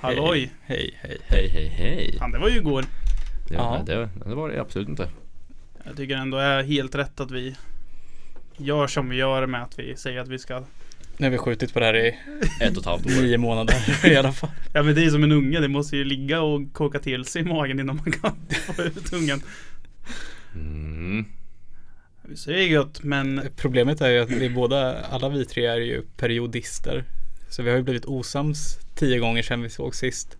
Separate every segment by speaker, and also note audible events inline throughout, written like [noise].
Speaker 1: Halloj!
Speaker 2: Hej, hej, hej.
Speaker 3: Hej, hej, hej.
Speaker 1: Fan, det var ju igår.
Speaker 3: Det,
Speaker 2: Ja.
Speaker 3: nej, det, det var det absolut inte.
Speaker 1: Jag tycker ändå är helt rätt att vi gör som vi gör med att vi säger att vi ska...
Speaker 2: Nu har vi skjutit på det här i
Speaker 3: Ett och ett halvt år.
Speaker 2: nio månader i alla [laughs] fall.
Speaker 1: Ja men det är som en unge, det måste ju ligga och koka till sig i magen innan man kan [laughs] få ut ungen.
Speaker 3: Mm.
Speaker 1: Vi säger gött, men
Speaker 2: Problemet är ju att vi båda, alla vi tre är ju periodister. Så vi har ju blivit osams tio gånger sedan vi såg sist.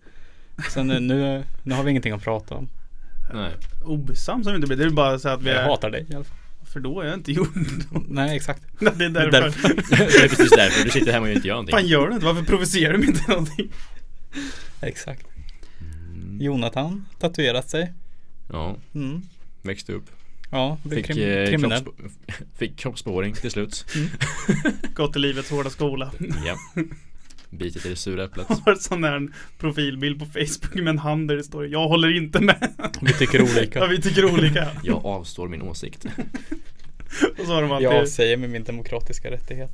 Speaker 2: Sen nu- nu, nu har vi ingenting att prata om.
Speaker 3: Nej. [laughs]
Speaker 1: obesams har vi inte blivit. Det är bara så att vi
Speaker 2: Jag
Speaker 1: är...
Speaker 2: hatar dig i alla fall.
Speaker 1: För då är jag inte gjort något.
Speaker 2: Nej, exakt.
Speaker 1: [laughs] Det är därför.
Speaker 3: Det är precis därför. Du sitter hemma och inte gör någonting.
Speaker 1: Fan gör du inte? Varför provocerar du mig inte någonting?
Speaker 2: Exakt. Jonathan tatuerat sig.
Speaker 3: Mm. Ja,
Speaker 2: Mm.
Speaker 3: växte upp.
Speaker 2: Ja, blev
Speaker 3: Fick,
Speaker 2: krim,
Speaker 3: eh,
Speaker 2: kriminell.
Speaker 3: kroppsbo- [laughs] fick kroppsbehåring
Speaker 1: [laughs]
Speaker 3: till slut.
Speaker 1: Gått i livets hårda skola. [laughs]
Speaker 3: Ja. Bitet i det sura äpplet.
Speaker 1: Har sån här profilbild på Facebook med en hand där det står Jag håller inte med.
Speaker 2: Vi tycker [laughs]
Speaker 1: Ja,
Speaker 2: olika.
Speaker 1: vi tycker olika.
Speaker 3: Jag avstår min åsikt.
Speaker 1: Och så har de alltid...
Speaker 2: Jag avsäger mig min demokratiska rättighet.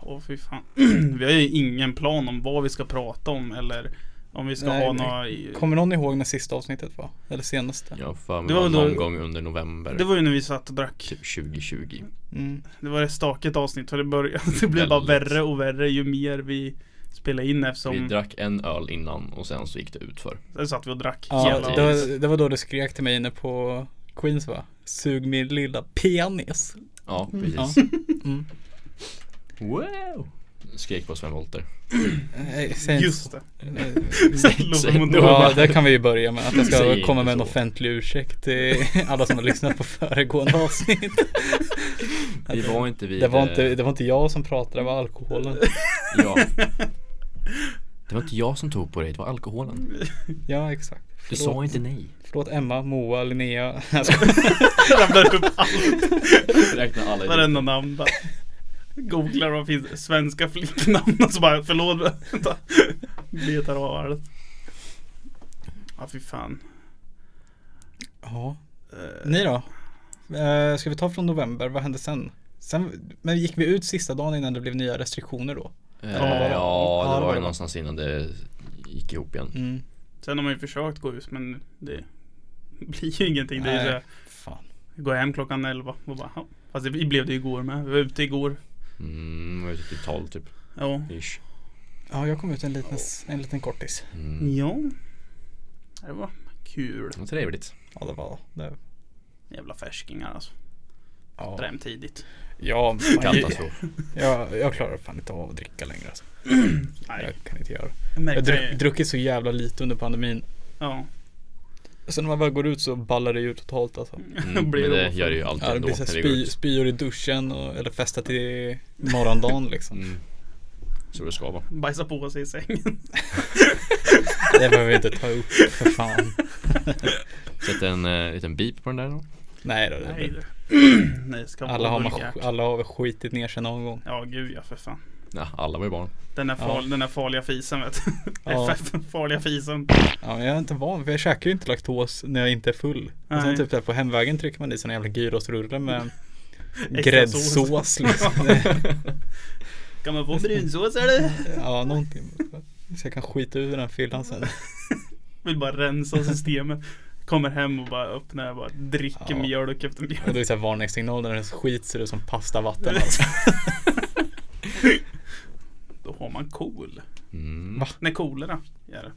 Speaker 1: Åh fy fan. [clears throat] vi har ju ingen plan om vad vi ska prata om eller om vi ska
Speaker 2: Nej,
Speaker 1: ha
Speaker 2: nej.
Speaker 1: några...
Speaker 2: Kommer någon ihåg när sista avsnittet var? Eller senaste?
Speaker 3: Jag har för mig
Speaker 1: Det var
Speaker 3: var
Speaker 1: väl då-
Speaker 3: någon gång under november.
Speaker 1: Det var ju när vi satt och drack.
Speaker 3: Typ 2020.
Speaker 2: Mm.
Speaker 1: Det var ett stakigt avsnitt för det började. [laughs] Det blev bara
Speaker 3: Väldigt.
Speaker 1: värre och värre ju mer vi spelade in
Speaker 3: Vi
Speaker 1: eftersom...
Speaker 3: drack en öl innan och sen så gick det ut för.
Speaker 1: Sen satt vi och drack.
Speaker 2: Ja,
Speaker 1: hela-
Speaker 2: det var, det var då du skrek till mig inne på Queens va? Sug min lilla penis.
Speaker 3: Ja,
Speaker 2: Ja.
Speaker 3: precis.
Speaker 2: Mm.
Speaker 3: Wow! Skrek på Sven Wollter.
Speaker 2: Nej, säg inte
Speaker 1: Just
Speaker 2: så.
Speaker 1: det. [laughs]
Speaker 2: Eh,
Speaker 1: Lovar mot
Speaker 3: då.
Speaker 2: Ja, där kan vi ju börja med att jag
Speaker 3: Säg
Speaker 2: ska
Speaker 3: inte
Speaker 2: komma med en
Speaker 3: så.
Speaker 2: offentlig ursäkt till alla som har lyssnat på föregående avsnitt.
Speaker 3: Vi var inte vid...
Speaker 2: Det var
Speaker 3: eh,
Speaker 2: inte, det var inte jag som pratade, det var alkoholen.
Speaker 3: Ja. [laughs] Det var inte jag som tog på dig, det var alkoholen.
Speaker 2: Ja, exakt.
Speaker 3: Du
Speaker 2: Förlåt.
Speaker 3: sa inte nej.
Speaker 2: Förlåt Emma, Moa, Linnea. [laughs]
Speaker 1: Ramlar upp allt.
Speaker 3: Räkna alla
Speaker 1: Varenda namn bara. Googlar vad finns svenska flicknamn och så bara förlåt. [laughs] vänta. Betar av allt. Ja fy fan.
Speaker 2: Ja,
Speaker 1: Eh,
Speaker 2: ni då? Eh, Ska vi ta från november, vad hände sen? Sen, men gick vi ut sista dagen innan det blev nya restriktioner då?
Speaker 3: Eh,
Speaker 1: Ja, det var-
Speaker 2: ja,
Speaker 3: Ja,
Speaker 2: det
Speaker 3: det
Speaker 2: var
Speaker 3: var
Speaker 2: det.
Speaker 3: ju någonstans innan det gick ihop igen.
Speaker 2: Mm.
Speaker 1: Sen har man ju försökt gå ut men det [laughs] blir ju ingenting. Det är
Speaker 2: Nej.
Speaker 1: ju så här,
Speaker 2: Fan.
Speaker 1: gå hem klockan 11 och bara ja. Fast det blev det ju igår med. Vi var ute igår.
Speaker 3: Mm, jag var ute till 12 typ.
Speaker 1: Ja.
Speaker 3: Ish.
Speaker 2: Ja, jag kom ut en liten, en liten kortis.
Speaker 3: Mm.
Speaker 1: Ja. Det var kul.
Speaker 3: Det var trevligt.
Speaker 2: Ja, det var det.
Speaker 1: Jävla färskingar alltså.
Speaker 2: Ja,
Speaker 1: Dräm tidigt.
Speaker 2: ja [laughs]
Speaker 3: Katastrof.
Speaker 2: jag, jag klarar fan inte av att dricka längre. Alltså.
Speaker 1: Nej.
Speaker 2: Jag kan inte göra det.
Speaker 1: Jag
Speaker 2: Jag har
Speaker 1: märkte
Speaker 2: druck,
Speaker 1: det.
Speaker 2: druckit så jävla lite under pandemin.
Speaker 1: Ja.
Speaker 2: Så när man väl går ut så ballar det ju totalt alltså.
Speaker 3: Mm, men
Speaker 1: Blir
Speaker 3: det
Speaker 1: ofan.
Speaker 3: gör det ju alltid
Speaker 2: Ja, det
Speaker 3: ändå
Speaker 2: blir så här
Speaker 3: när vi går
Speaker 2: spy,
Speaker 3: ut.
Speaker 2: spyor i duschen och, eller festa till morgondagen liksom.
Speaker 3: Mm. Så det ska vara.
Speaker 1: Bajsa på sig i
Speaker 2: [laughs]
Speaker 1: sängen.
Speaker 2: Det behöver vi inte ta upp för fan.
Speaker 3: Sätt en eh, liten beep på den där då.
Speaker 2: Nej då, det
Speaker 1: Nej.
Speaker 2: [clears throat] blir.
Speaker 1: det- Nej, det ska vara
Speaker 2: Alla har, man,
Speaker 1: vulgärt.
Speaker 2: alla har väl skitit ner sig någon gång.
Speaker 1: Ja, gud ja för fan.
Speaker 3: Ja, alla var ju barn.
Speaker 1: Den där, far, den där farliga fisen vet du. [laughs]
Speaker 2: Ja.
Speaker 1: FF, farliga fisen.
Speaker 2: Ja, men jag är inte van, för jag käkar ju inte laktos när jag inte är full. Och sen
Speaker 1: Nej.
Speaker 2: typ där på hemvägen trycker man i såna jävla
Speaker 1: [laughs]
Speaker 2: gyrosrulle med
Speaker 1: Extra
Speaker 2: gräddsås [laughs]
Speaker 1: sås. [laughs]
Speaker 2: liksom.
Speaker 1: Kan man få brunsås eller?
Speaker 2: Ja, någonting. Så jag kan skita ur den
Speaker 1: [laughs]
Speaker 2: fyllan sen.
Speaker 1: Vill bara rensa systemet. Kommer hem och bara öppnar och bara dricker
Speaker 2: Ja.
Speaker 1: mjölk efter
Speaker 2: Och [laughs]
Speaker 1: mjölk.
Speaker 2: det är såhär varningssignal när den skit ser ut som pastavatten alltså.
Speaker 1: Då har man kol.
Speaker 3: Mm.
Speaker 2: Va?
Speaker 1: Nej, kolera. är det.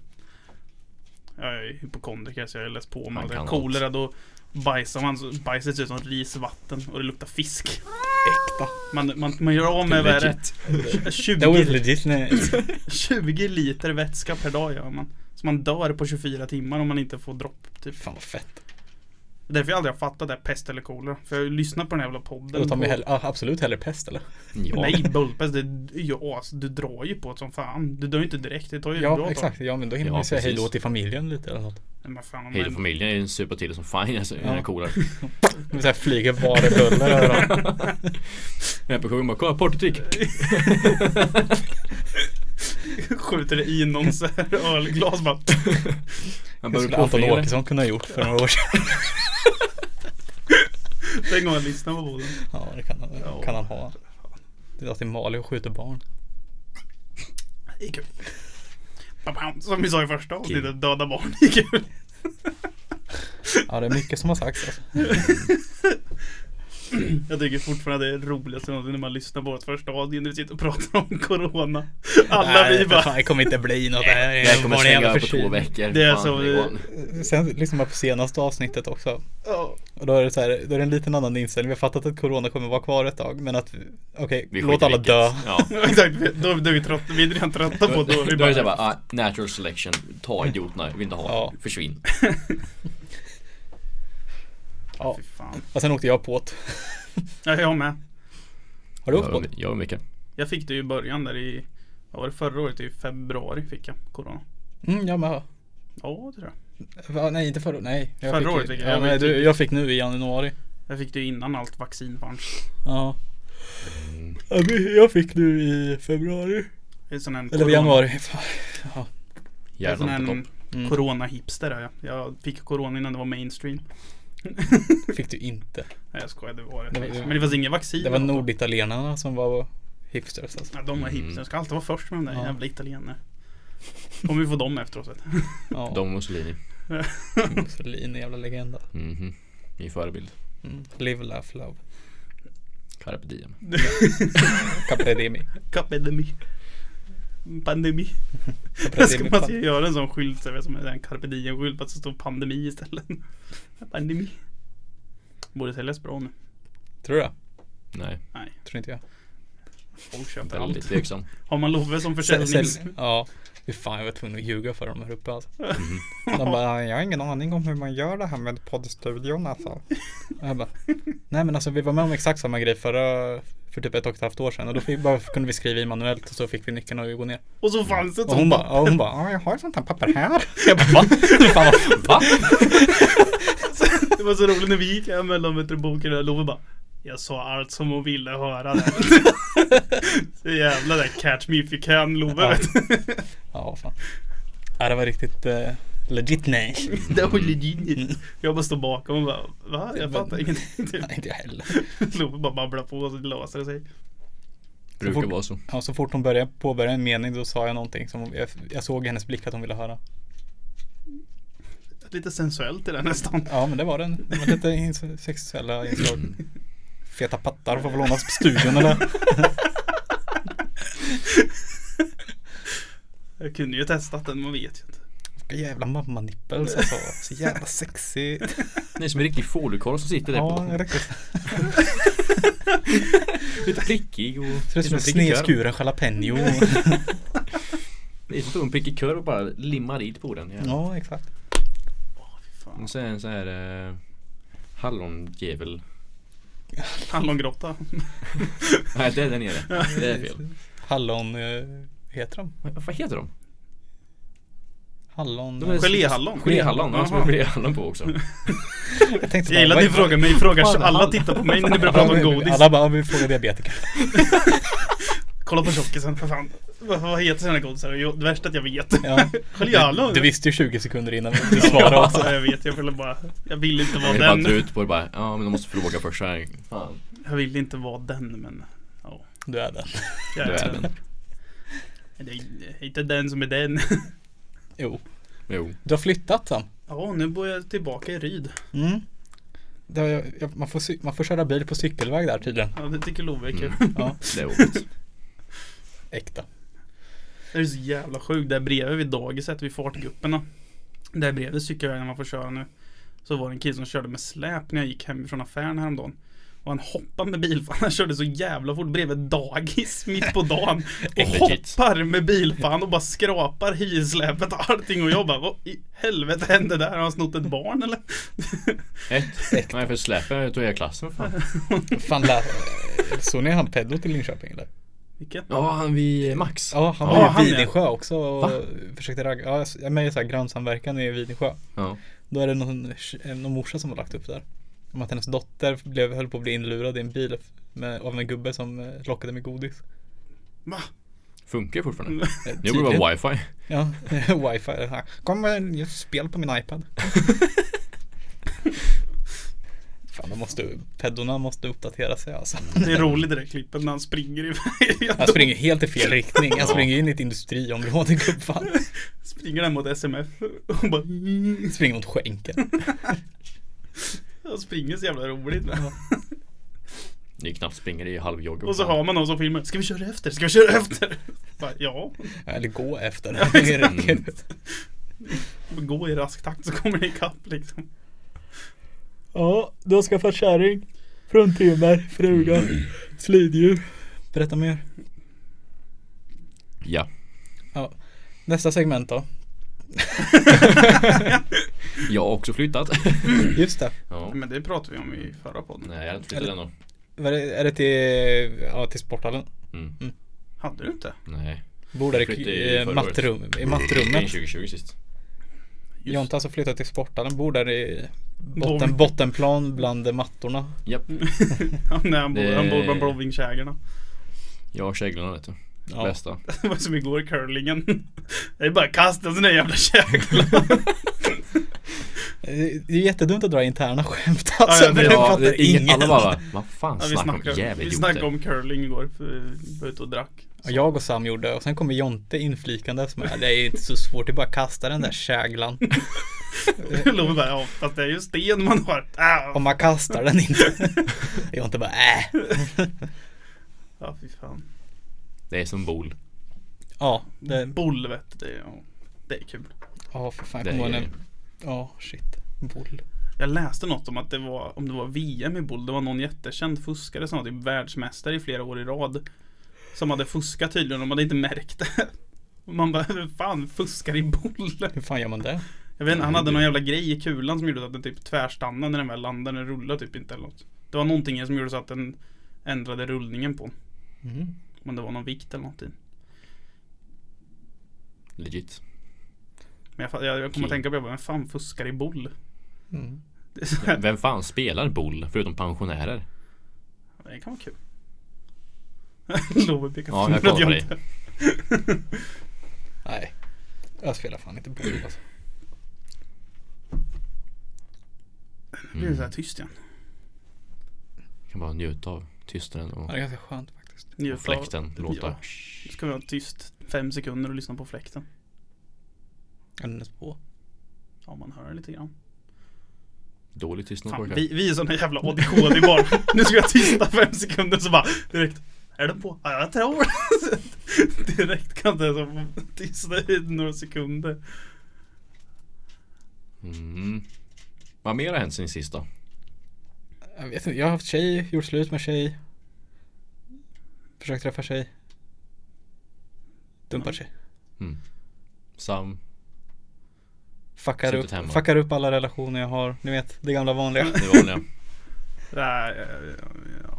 Speaker 1: Jag är ju hypokondriker så jag har läst på om
Speaker 3: Man
Speaker 1: allt. det.
Speaker 3: kan allt.
Speaker 1: Kolera då bajsar man så bajset ser ut som risvatten och det luktar fisk.
Speaker 2: Äkta.
Speaker 1: Man, man, man gör av med vad är det?
Speaker 3: Legit.
Speaker 1: 20 [laughs]
Speaker 2: Det var legit nej.
Speaker 1: 20 liter vätska per dag gör man. Så man dör på 24 timmar om man inte får dropp. Typ.
Speaker 2: [laughs] Fan vad fett.
Speaker 1: Därför jag aldrig har fattat det här pest eller kolera. För jag har ju lyssnat på den här jävla podden.
Speaker 2: Då tar man
Speaker 1: på-
Speaker 2: hell- ah, absolut hellre pest eller?
Speaker 3: Ja.
Speaker 1: Nej, bullpest det är ju as. Du drar ju på ett som fan. Du dör ju inte direkt. Det tar ju ett bra
Speaker 2: Ja
Speaker 1: tag.
Speaker 2: exakt, ja men då hinner
Speaker 3: Ja,
Speaker 2: man ju säga
Speaker 3: precis.
Speaker 2: hejdå till familjen lite eller något.
Speaker 1: Nej, men fan, om
Speaker 3: Hej då
Speaker 1: man-
Speaker 3: familjen är ju en supa till som fine alltså,
Speaker 2: Ja.
Speaker 3: ja. coolare.
Speaker 2: Det vill säga flyger
Speaker 1: [laughs]
Speaker 2: varebuller över dem.
Speaker 3: Jag är på sjuan bara, kolla partytrick!
Speaker 1: [laughs] Skjuter det i någon så här ölglas bara. [laughs]
Speaker 3: Han
Speaker 2: Det
Speaker 3: behöver
Speaker 2: skulle
Speaker 3: på
Speaker 2: Anton
Speaker 3: familjen.
Speaker 2: Åkesson kunna ha gjort för några år sedan. [laughs]
Speaker 1: Den gången jag lyssnade på podden.
Speaker 2: Ja det kan han,
Speaker 1: Ja.
Speaker 2: kan han ha. Det är alltid Mali och skjuter barn.
Speaker 1: i kul. Ba-bam. Som vi sa i första avsnittet, döda barn i kul.
Speaker 2: Ja, det är mycket som har sagts alltså.
Speaker 1: Jag tycker fortfarande det är roligast någonsin när man lyssnar på vårt första avsnitt när vi sitter och pratar om corona. Alla
Speaker 2: Nej,
Speaker 1: vi
Speaker 2: för
Speaker 1: bara
Speaker 2: fan, det kommer inte bli något. Det här är
Speaker 3: Det här kommer
Speaker 2: bara en jävla
Speaker 3: svänga över på
Speaker 2: förkylning.
Speaker 3: två veckor.
Speaker 1: Det är
Speaker 3: Fan,
Speaker 1: så-
Speaker 3: Johan.
Speaker 2: Sen liksom på senaste avsnittet också.
Speaker 1: "Ja, [laughs]
Speaker 2: Och då är det så här, då är det en liten annan inställning. Vi har fattat att corona kommer vara kvar ett tag, men att vi- okej,
Speaker 3: Vi
Speaker 2: låt
Speaker 3: skiter i
Speaker 2: alla
Speaker 3: vilket.
Speaker 2: dö.
Speaker 3: Ja.
Speaker 1: Exakt, då, då är vi trötta, vi är redan trötta på
Speaker 3: [laughs] Då,
Speaker 1: det. Då är vi
Speaker 3: är det såhär
Speaker 1: bara,
Speaker 3: bara, ah, natural selection, ta
Speaker 2: [laughs]
Speaker 3: idioterna, vill inte ha,
Speaker 2: Ja.
Speaker 3: försvinn.
Speaker 2: Ja.
Speaker 1: fy fan.
Speaker 2: Och sen åkte jag på det.
Speaker 1: Ja, jag med.
Speaker 2: Har du åkt på det?
Speaker 3: Jag och Micke.
Speaker 1: Jag fick det ju i början där i, vad var det förra året? I februari fick jag corona.
Speaker 2: Mm, jag med.
Speaker 1: Ja, det tror jag.
Speaker 2: Va, nej, inte förra Nej. Jag
Speaker 1: Förra
Speaker 2: fick,
Speaker 1: året fick jag-
Speaker 2: jag. Ja,
Speaker 1: jag
Speaker 2: nej,
Speaker 1: vet
Speaker 2: du,
Speaker 1: inte.
Speaker 2: jag fick nu i januari.
Speaker 1: Jag fick det ju innan allt vaccin fanns.
Speaker 2: Ja.
Speaker 3: Mm,
Speaker 2: Ja, men Jag fick nu i februari.
Speaker 1: Det är sån en
Speaker 2: Eller
Speaker 1: corona-
Speaker 2: januari. Fan.
Speaker 1: Jag är sån
Speaker 3: Hjärnan på
Speaker 1: en
Speaker 3: topp.
Speaker 2: Mm.
Speaker 1: corona-hipster är jag. Jag fick corona innan det var mainstream.
Speaker 2: Fick du inte.
Speaker 1: Nej jag skojar, det var det.
Speaker 2: Det var-
Speaker 1: Men det fanns inget vaccin.
Speaker 2: Det var norditalienarna som var hipsters alltså.
Speaker 1: Ja, de var
Speaker 3: Mm.
Speaker 1: hipster. De ska alltid vara först med de där
Speaker 2: Ja.
Speaker 1: jävla italienarna. Kommer vi få dem efteråt vet du.
Speaker 2: Ja.
Speaker 3: De och Mussolini.
Speaker 2: [laughs] Mussolini, jävla legenda.
Speaker 3: Mhm. Min förebild.
Speaker 2: Mm. Live, laugh, love.
Speaker 3: Carpe diem.
Speaker 1: [laughs]
Speaker 2: Capredemi.
Speaker 1: Kapedemi. Pandemi. Jag ska man se, göra en sån skylt, så jag vet, som en carpe diem-skylt fast det står pandemi istället. Pandemi. Borde säljas bra nu.
Speaker 2: Tror jag.
Speaker 3: Nej,
Speaker 1: Nej,
Speaker 2: Tror inte jag.
Speaker 1: folk köper
Speaker 3: väldigt
Speaker 1: allt.
Speaker 3: tveksam.
Speaker 1: Har man Love som försäljnings...
Speaker 2: Sälj- Ja. Fy fan, jag var tvungen att ljuga för dem här uppe alltså.
Speaker 1: Mm.
Speaker 2: De bara, jag har ingen aning om hur man gör det här med poddstudion alltså. Och jag bara, Nej men alltså vi var med om exakt samma grej förra, för typ ett och ett halvt år sedan. Och då fick, bara, kunde vi skriva i manuellt och så fick vi nyckeln att gå ner.
Speaker 1: Och så fanns det ett
Speaker 2: Och
Speaker 1: sånt.
Speaker 2: hon bara, ja, hon bara, ja jag har ett sånt här papper här. Jag bara, va? Fan, vad fan.
Speaker 3: Va?
Speaker 1: Det var så roligt när vi gick hem mellan vet du, boken och Love bara Jag sa allt som hon ville
Speaker 2: [laughs]
Speaker 1: höra där. Så jävla där catch me if you can Love
Speaker 2: Ja.
Speaker 1: vet du.
Speaker 2: Ja, vad fan. Ja, det var riktigt eh, legit nej.
Speaker 1: [laughs] Det var legit. Jag bara står bakom och bara Va? Jag fattar ingenting. Typ.
Speaker 2: Mm. nej. Inte jag heller.
Speaker 1: Love bara babblar på och så löser det sig.
Speaker 3: Brukar vara så.
Speaker 2: Ja, så fort hon började påbörja en mening då sa jag någonting som jag, jag såg i hennes blick att hon ville höra.
Speaker 1: Lite sensuellt i det här nästan.
Speaker 2: Ja, men det var den. Det var lite ins- sexuella inslag. Feta pattar får väl lånas på studion eller?
Speaker 1: Jag kunde ju testat den, man vet ju inte.
Speaker 2: Vilka jävla mammanippels alltså. Så jävla sexy.
Speaker 3: Det är som en riktig fålukorv som sitter där
Speaker 2: Ja,
Speaker 3: på.
Speaker 2: det räcker.
Speaker 3: Lite prickig och...
Speaker 2: Ser ut som en
Speaker 3: prickig korv.
Speaker 2: snedskuren jalapeno.
Speaker 3: Det är som att ta en prickig korv och bara limma dit på den. Ja.
Speaker 2: Ja, exakt. Mm.
Speaker 3: Och så är det en sån här eh, hallonjävel.
Speaker 1: Hallongrotta.
Speaker 3: Nej, det är där nere. Det är fel.
Speaker 2: Hallon, eh, heter de?
Speaker 3: Vad vad heter de?
Speaker 2: Hallon?
Speaker 3: De är-
Speaker 1: Geléhallon.
Speaker 3: Geléhallon. Man
Speaker 1: Jaha.
Speaker 3: har geléhallon på också.
Speaker 2: Jag tänkte
Speaker 1: Jag gillar att ni
Speaker 2: vad-
Speaker 1: frågar mig frågar så alla tittar på mig när ni börjar prata om
Speaker 2: Ja, vi-
Speaker 1: godis.
Speaker 2: Alla bara, ja, vi frågar diabetiker.
Speaker 1: Kolla på tjockisen för fan. Vad, vad heter sådana godisar? Jo, det värsta är att jag vet.
Speaker 2: Ja.
Speaker 1: Geléhallon.
Speaker 2: Du, du visste ju 20 sekunder innan du svarade också.
Speaker 1: Ja, alltså, jag vet, jag ville bara. Jag vill inte
Speaker 3: Jag
Speaker 1: vara
Speaker 3: vill bara dra
Speaker 1: den.
Speaker 3: ut på det bara. Ja, men de måste fråga först. Så här. Fan.
Speaker 1: Jag vill inte vara den men. Ja.
Speaker 2: Du är den.
Speaker 1: Jag
Speaker 3: Du
Speaker 1: är
Speaker 3: är
Speaker 1: den.
Speaker 3: den.
Speaker 1: Det är inte den som är den.
Speaker 2: Jo.
Speaker 3: Jo.
Speaker 2: Du har flyttat Sam.
Speaker 1: Ja, nu bor jag tillbaka i Ryd.
Speaker 2: Mm. Det har jag, jag, man, får, cy- man får köra bil på cykelväg där tydligen.
Speaker 1: Ja, det tycker Love är kul.
Speaker 2: [laughs] Ja,
Speaker 3: mm. Det är ordet.
Speaker 2: äkta.
Speaker 1: Det är så jävla sjukt. Där bredvid vid dagiset, vid fartgupperna. Där bredvid cykelvägen man får köra nu. Så var det en kille som körde med släp när jag gick hem från affären häromdagen. Och han hoppade med bil för [laughs] han körde så jävla fort bredvid dagis [laughs] mitt på dagen. Och
Speaker 3: Äckligt.
Speaker 1: hoppar med bil för han och bara skrapar hylsläpet och allting. Och jag bara, vad i helvete hände där? Har han snott ett barn eller? [laughs]
Speaker 3: Ett. Nej, för släpet tog jag klassen fan.
Speaker 2: Fan lär, [laughs] såg ni han Pedro till Linköping eller?
Speaker 1: Vilket?
Speaker 3: Ja, han vid Max.
Speaker 2: Ja, han
Speaker 1: Ja,
Speaker 2: var
Speaker 1: han,
Speaker 2: ju i
Speaker 1: ja.
Speaker 2: Vidingö också och
Speaker 3: Va?
Speaker 2: försökte ragga. Ja, jag är med i så här grannsamverkan i Vidingö.
Speaker 3: Ja.
Speaker 2: Då är det någon, eh, någon morsa som har lagt upp där. Om att hennes dotter blev, höll på att bli inlurad i en bil med, av en gubbe som eh, lockade med godis. Eh,
Speaker 1: Va?
Speaker 3: Funkar fortfarande.
Speaker 1: Mm.
Speaker 3: Nu borde det vara wifi.
Speaker 2: Ja, [laughs] wifi. är det här. Kom, eh, jag spel på min iPad. Fan, de måste, peddorna måste uppdatera sig alltså.
Speaker 1: Det är roligt det där klippet när han springer [laughs] iväg.
Speaker 2: Han springer helt i fel riktning. Han springer in i ett industriområde gubbfan.
Speaker 1: Springer den mot SMF och bara "Mm."
Speaker 2: Springer mot skänken.
Speaker 1: Han springer så jävla roligt. va?
Speaker 3: Det är knappt springer i halvjogg.
Speaker 1: Och så har man någon som filmar. Ska vi köra efter? Ska vi köra efter? [laughs] Bara, ja,
Speaker 2: Eller gå efter. Det räcker.
Speaker 1: gå i rask takt så kommer ni ikapp liksom.
Speaker 2: Ja, du har skaffat kärring. Fruntimmer, fruga, sliddjur. Berätta mer.
Speaker 3: Ja.
Speaker 2: Ja. Nästa segment då.
Speaker 3: Jag har också flyttat.
Speaker 2: Just det.
Speaker 3: ja.
Speaker 1: Men det pratade vi om i förra podden.
Speaker 3: Nej, jag har inte flyttat ännu.
Speaker 2: Var det- Är det till, ja, till sporthallen?
Speaker 3: Mm.
Speaker 1: Hade du inte?
Speaker 3: Nej.
Speaker 2: Bor där
Speaker 3: Flyttade
Speaker 2: i,
Speaker 3: i
Speaker 2: i,
Speaker 3: förra
Speaker 2: mattrum, i
Speaker 3: Det är
Speaker 2: mattrummet.
Speaker 3: 2020 sist.
Speaker 1: Just.
Speaker 2: Jonte har alltså flyttat till sporthallen. Bor där i
Speaker 1: Bowling.
Speaker 2: botten, bottenplan bland mattorna.
Speaker 3: Japp.
Speaker 1: Mm. Ja, [laughs] nej, han, bor,
Speaker 3: Det-
Speaker 1: han bor bland Brovingkägarna.
Speaker 3: Jag och käglorna vet du.
Speaker 2: Ja.
Speaker 3: Bästa.
Speaker 1: [laughs] Det var som igår i curlingen. [laughs] Det är bara att kasta sina jävla
Speaker 3: [laughs]
Speaker 1: käglar.
Speaker 2: Det är jättedumt att dra interna skämt
Speaker 1: Ja,
Speaker 2: alltså.
Speaker 1: ja,
Speaker 2: men
Speaker 1: [laughs] det-
Speaker 2: det
Speaker 1: ja,
Speaker 2: fattar
Speaker 3: det är
Speaker 2: ingen.
Speaker 3: Alla bara, va? vad fan
Speaker 1: Ja, vi
Speaker 3: snackar de
Speaker 1: snackade,
Speaker 3: om?
Speaker 1: vi
Speaker 3: Jävligt
Speaker 1: snackade
Speaker 3: idioter.
Speaker 1: om curling igår. För vi var ute och drack.
Speaker 2: Ja, Jag och Sam gjorde och sen kommer Jonte inflikandes med Det är ju inte så svårt, det är bara att kasta den där käglan.
Speaker 1: [laughs] Love bara, ja, fast det är ju sten man har. Ah.
Speaker 2: Om man kastar den inte. [laughs] Jonte bara äh.
Speaker 1: Ja, fy fan.
Speaker 3: Det är som bol.
Speaker 2: Ja, det,
Speaker 1: Boll vet du, det, är- ja, det är kul.
Speaker 2: ja för fan.
Speaker 3: Det
Speaker 2: jag kommer ihåg när-
Speaker 3: är,
Speaker 2: Ja, shit. Boll.
Speaker 1: Jag läste något om att det var, om det var VM i boll, det var någon jättekänd fuskare som var typ världsmästare i flera år i rad. Som hade fuskat tydligen, de hade inte märkt det. Och Man bara, "Hur fan fuskar i boll?
Speaker 2: Hur fan gör man det?
Speaker 1: Jag vet inte, han hade någon jävla grej i kulan som gjorde att den typ tvärstannade när den väl landade, den rullade typ inte eller något. Det var någonting som gjorde så att den ändrade rullningen på
Speaker 2: Mhm.
Speaker 1: Men det var någon vikt eller någonting.
Speaker 3: legit.
Speaker 1: Men jag, fa- jag, jag kommer att
Speaker 3: Okej.
Speaker 1: tänka på det, jag bara, vem fan fuskar i boll?
Speaker 2: Mm.
Speaker 1: [laughs] Det, är så här,
Speaker 3: [laughs] Vem fan spelar bol förutom pensionärer?
Speaker 1: det kan vara kul. [laughs] Love pekar
Speaker 3: Ja, jag
Speaker 1: finger åt
Speaker 3: kollar på
Speaker 1: Jonte.
Speaker 2: Nej. Jag spelar fan inte boll alltså.
Speaker 1: Nu blir det så här tyst igen.
Speaker 3: Mm. Kan bara njuta av tystnaden
Speaker 2: Ja,
Speaker 3: och
Speaker 2: Det är ganska skönt faktiskt.
Speaker 1: Njuta av-
Speaker 3: fläkten. Låta.
Speaker 1: Ja. Nu ska vi vara tyst fem sekunder och lyssna på fläkten.
Speaker 2: Är den ens på?
Speaker 1: Ja, man hör lite grann.
Speaker 3: Dålig tystnad
Speaker 1: Fan,
Speaker 3: pojkar.
Speaker 1: vi, vi är såna jävla ADHD-barn. nu ska jag tysta fem sekunder så bara direkt. Är den på? Ja, jag tror det. [laughs] Direkt kan det som tysta i några sekunder.
Speaker 3: Mm. Vad mer har hänt sen sist då?
Speaker 2: Jag vet inte. Jag har haft tjej, gjort slut med tjej. Försökt träffa tjej. Dumpat tjej.
Speaker 3: Sam?
Speaker 2: Fuckar
Speaker 3: Suttit
Speaker 2: upp,
Speaker 3: hemma.
Speaker 2: fuckar upp alla relationer jag har. Ni vet, det gamla
Speaker 3: [laughs]
Speaker 2: vanliga.
Speaker 3: Det vanliga.
Speaker 1: Nej, ja, ja.